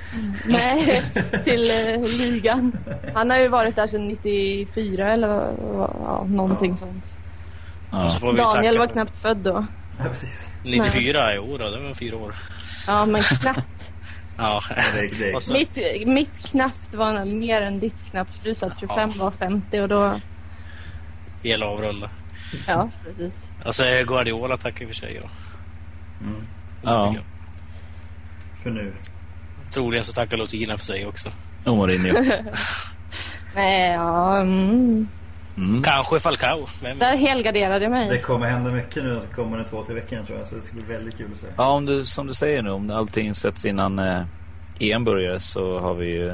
B: Nej, till eh, ligan. Han har ju varit där sedan 94 eller vad- vad- ja, någonting
C: Ja.
B: sånt.
A: Ja.
D: Och
C: Alltså,
D: så får vi ju
B: Daniel
D: tacka-
B: var knappt född då.
C: Ja, precis.
D: 94, jo då, det var fyra år.
B: Ja, men knappt.
D: Ja.
C: Det, det,
D: Och så-
B: mitt, mitt knappt var mer än ditt knappt. Du sa att 25 var 50 och då...
D: Hela avrunda.
B: Ja, precis.
D: Och så är Guardiola tackar för sig då.
C: mm,
A: ja.
C: för nu.
D: Troligen så tackar Lotina för sig också.
A: Och Mourinho.
B: Nej, ja... Mm.
A: Mm.
D: Kanske Falcao. Vem
B: Där
D: vet?
B: helgarderade jag
C: Det
B: mig.
C: kommer hända mycket nu de kommande två, tre veckorna tror jag. Så det ska bli väldigt kul att se.
A: Ja, om du, som du säger nu, om allting sätts innan eh, EM börjar så har vi ju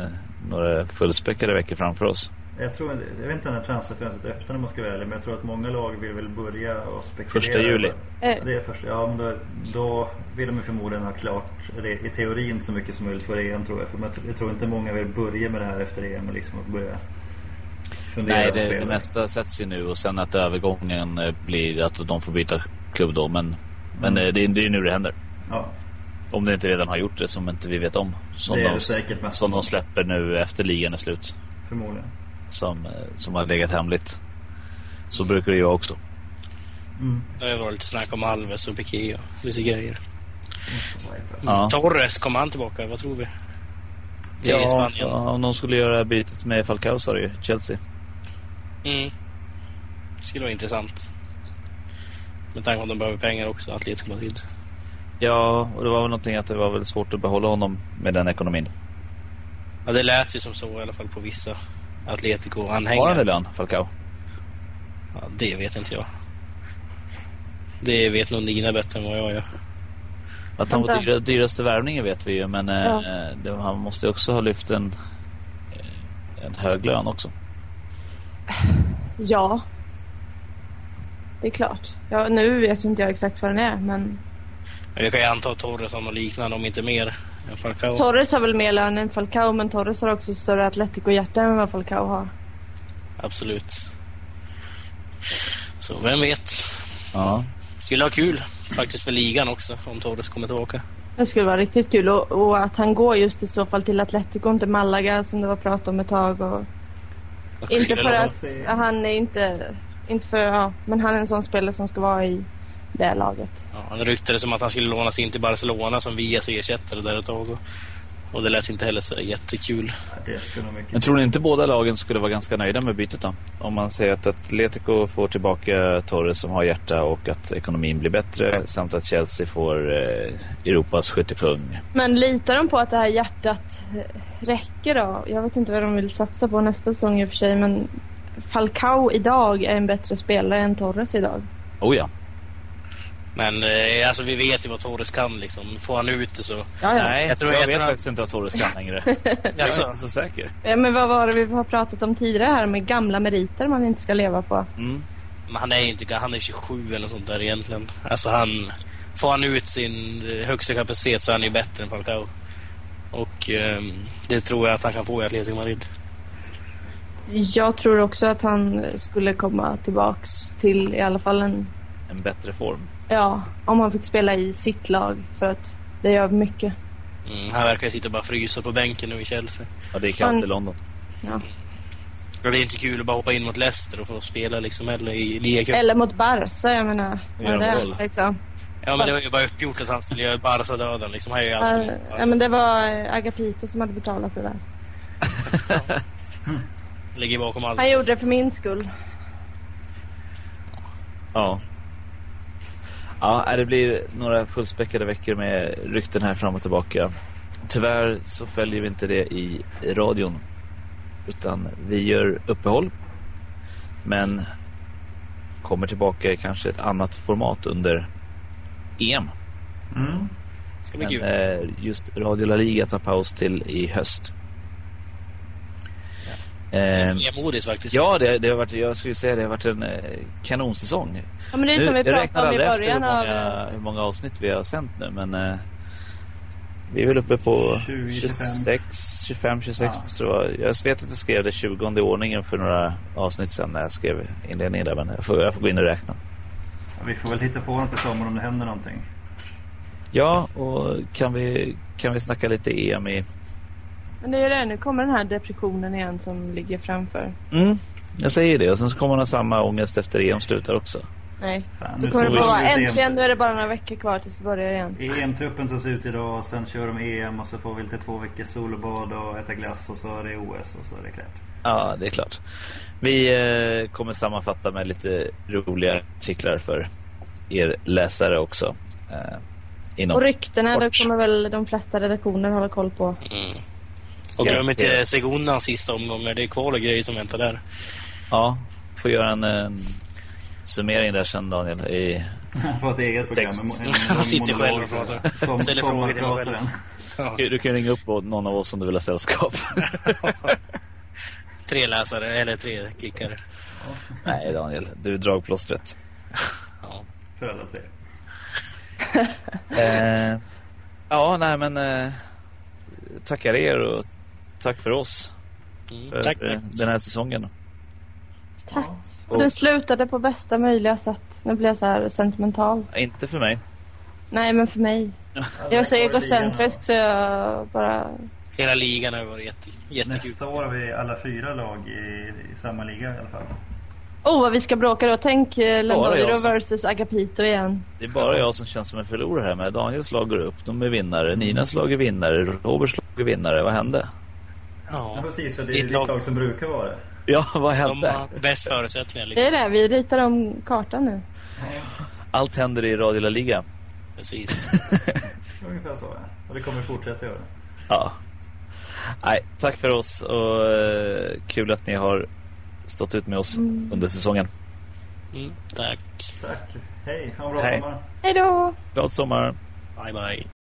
A: några fullspäckade veckor framför oss.
C: Jag, tror, jag vet inte när transferfönstret öppnar om man ska välja men jag tror att många lag vill väl börja och spekulera.
A: Första juli.
B: Eh,
C: Det är första, ja, men då, då vill de ju förmodligen ha klart re- i teorin så mycket som möjligt före EM tror jag. För man- jag tror inte många vill börja med det här efter EM och liksom och börja fundera
A: Nej,
C: på
A: det, det
C: spelare.
A: mesta sätts ju nu och sen att övergången eh, blir att de får byta klubb då. Men, men
C: Mm.
A: eh, det, är- det är ju nu det händer.
C: Ja,
A: Om det inte redan har gjort det som inte vi vet om. Som,
C: Det är
A: de,
C: det säkert mest.
A: som de släpper nu efter ligan är slut.
C: förmodligen.
A: Som, eh, som har legat hemligt. Så brukar det ju vara också.
C: Mm.
D: Det har varit lite snack om Alves och Piqué och vissa grejer.
C: Vad heter det?
A: Ja.
D: Torres, kommer han tillbaka? Vad tror vi? Till
A: Ja,
D: Spanien.
A: ja, om de skulle göra bytet med Falcao så är det ju Chelsea.
D: Mm. Det skulle vara intressant. Med tanke på att de behöver pengar också, Atletico Madrid.
A: Ja, och det var väl någonting att det var väl svårt att behålla honom med den ekonomin.
D: Ja, det lät ju som så i alla fall på vissa
A: Har han
D: Atletico-anhängare.
A: en lön, Falcao?
D: Ja, det vet inte jag. Det vet nog Nina bättre än vad jag gör.
A: Att han var
B: Vänta.
A: dyra, dyraste värvningen vet vi ju, men eh,
B: Ja.
A: det, han måste ju också ha lyft en, eh, en hög lön också.
B: Ja. Det är klart. Ja, nu vet inte jag exakt vad den är, men
D: Men vi kan ju anta att Torres har något liknande, om inte mer, än Falcao.
B: Torres har väl mer lön än Falcao, men Torres har också större Atletico-hjärta än vad Falcao har.
D: Absolut. Så vem vet?
A: Ja.
D: Skulle ha kul, faktiskt för ligan också, om Torres kommer tillbaka.
B: Det skulle vara riktigt kul och, och att han går just i så fall till Atletico, inte Malaga som det var prat om ett tag. Och
D: Vad
B: inte
D: kul.
B: för
C: man
B: att
C: se.
B: han är inte, inte för, ja, men han är en sån spelare som ska vara i det laget.
D: Ja, han ryktades som att han skulle lånas in till Barcelona som Vias ersättare där ett tag. Och, och det lät inte heller så jättekul.
C: Ja, Det skulle nog mycket
A: Men tror ni inte båda lagen skulle vara ganska nöjda med bytet då? Om man säger att Atletico får tillbaka Torres som har hjärta och att ekonomin blir bättre samt att Chelsea får eh, Europas skyttekung.
B: Men litar de på att det här hjärtat eh, räcker då? Jag vet inte vad de vill satsa på nästa säsong i och för sig, men Falcao idag är en bättre spelare än Torres idag.
A: Oh ja.
D: Men eh, alltså, vi vet ju vad Torres kan. Liksom. Får han ut det så...
B: Ja, ja.
A: Nej, jag,
D: Jag tror- jag
A: vet
D: tror-
A: faktiskt inte vad Torres kan längre. Jag är
D: Alltså,
A: inte så säker.
B: Ja, Men vad var det vi har pratat om tidigare här med gamla meriter man inte ska leva på?
A: Mm.
D: Men han är ju inte, han är 27 eller sånt där egentligen. Alltså han, får han ut sin eh, högsta kapacitet så är han ju bättre än Falcao. Och ehm, det tror jag att han kan få i Atletico Madrid.
B: Jag tror också att han skulle komma tillbaks till i alla fall en...
A: En bättre form.
B: Ja, om han fick spela i sitt lag för att det gör mycket.
D: Mm, han verkar ju sitta och bara frysa på bänken nu i Chelsea.
A: Ja, det är kallt
B: Han-
A: i London.
D: Och det är inte kul att bara hoppa in mot Leicester och få spela liksom heller i ligacupen.
B: Eller mot Barca, jag menar.
A: Gör
B: Men det,
A: mål.
B: liksom.
D: Ja men det var ju bara uppgjort att han skulle göra Barca-döden liksom. Han är ju
B: ja,
D: alltid
B: ja, men det var eh, Agapito som hade betalat det där.
D: Alltså, ligger bakom allt.
B: Han gjorde det för min skull.
A: Ja. Ja, nej, det blir några fullspäckade veckor med rykten här fram och tillbaka. Tyvärr så följer vi inte det i radion. Utan vi gör uppehåll. Men kommer tillbaka i kanske ett annat format under EM.
C: Mm.
D: Det ska
A: Men,
D: bli kul.
A: eh, just Radio La Liga tar paus till i höst.
D: Det
A: Eh,
D: känns vemodigt faktiskt.
A: ja, det, det har varit, jag skulle säga det har varit en eh, kanonsäsong.
B: Ja, men det är ju
A: Nu,
B: som vi
A: jag räknar
B: pratade om i
A: aldrig efter hur
B: början av...
A: många, hur många avsnitt vi har sänt nu, men eh, vi är väl uppe på
C: 20,
A: 26, 25, 26
C: Ja.
A: måste det vara. Jag vet att jag skrev det 20 i ordningen för några avsnitt sedan när jag skrev inledningen där, men jag får, jag får gå in och räkna.
C: Vi får väl hitta på något i sommar om det händer någonting.
A: Ja, och kan vi, kan vi snacka lite EM i...
B: Men det är ju det, nu kommer den här depressionen igen som ligger framför.
A: Mm, jag säger det. Och sen så kommer man ha samma ångest efter EM slutar också.
B: Nej.
C: Fan,
B: Då kommer det
C: får vi
B: bara vara
C: sluta
B: äntligen, nu
C: EM
B: är det bara några veckor kvar tills det börjar igen.
C: E EM-truppen tas ut idag och sen kör de EM och så får vi lite två veckor sol och bad och äta glass och så är det OS och så är det klart.
A: Ja, det är klart. Vi eh, kommer sammanfatta med lite roliga artiklar för er läsare också. Eh, inom.
B: Och ryktena,
A: Kort.
B: det kommer väl de flesta redaktioner hålla koll på.
D: Mm. Och
A: Ja,
D: glöm
A: det-
D: inte Segundans sista omgångar. Det är kval och grejer som väntar där.
A: Ja, får göra en eh, summering där sen Daniel. I,
C: Han får ett eget program.
A: Text.
C: en- en- en
D: Han sitter
C: monolog.
D: själv och pratar.
C: Som,
D: Ställer frågor till honom
C: sommarprataren.
D: Ja.
A: du kan ringa upp någon av oss om du vill ha sällskap.
D: Tre läsare, eller tre klickare.
A: Nej Daniel, du är dragplåstret.
D: Ja.
C: För alla tre.
A: Eh, ja, nej men eh, tackar er och tack för oss
D: Mm.
A: för
D: Tack.
A: eh, den här säsongen.
B: Tack.
A: Ja.
B: Och du slutade på bästa möjliga sätt. Nu blir jag så här sentimental.
A: Inte för mig.
B: Nej, men för mig. Jag är så egocentrisk så jag bara...
D: Hela ligan har varit jätte, jättekul.
C: Nästa år har vi alla fyra lag i, i samma liga i alla fall.
B: Oh, vad vi ska bråka då. Tänk eh,
A: Bara
B: Lendoiro
A: jag som-
B: versus Agapito igen.
A: Det är bara jag som känns som en förlorare här med. Daniels lag går upp, de är vinnare. Ninas lag är vinnare, Roberts lag är vinnare. Vad hände?
C: Ja,
D: Ja.
C: precis, så det är
D: Ditt
C: ditt
D: lag.
C: lag som brukar vara det.
A: Ja, vad
D: De
A: hände?
D: har bäst förutsättningar.
B: Det är
D: Liksom.
B: det, vi ritar om kartan nu.
A: Allt händer i Radio La Liga.
D: Precis.
C: Ungefär så ja. Och det kommer fortsätta göra.
A: Ja. Nej, tack för oss och eh, kul att ni har stått ut med oss under säsongen.
D: Mm. Tack.
C: Tack. Hej, ha en bra
A: Hej.
C: sommar.
B: Hej då!
A: Glad sommar!
D: Bye, bye.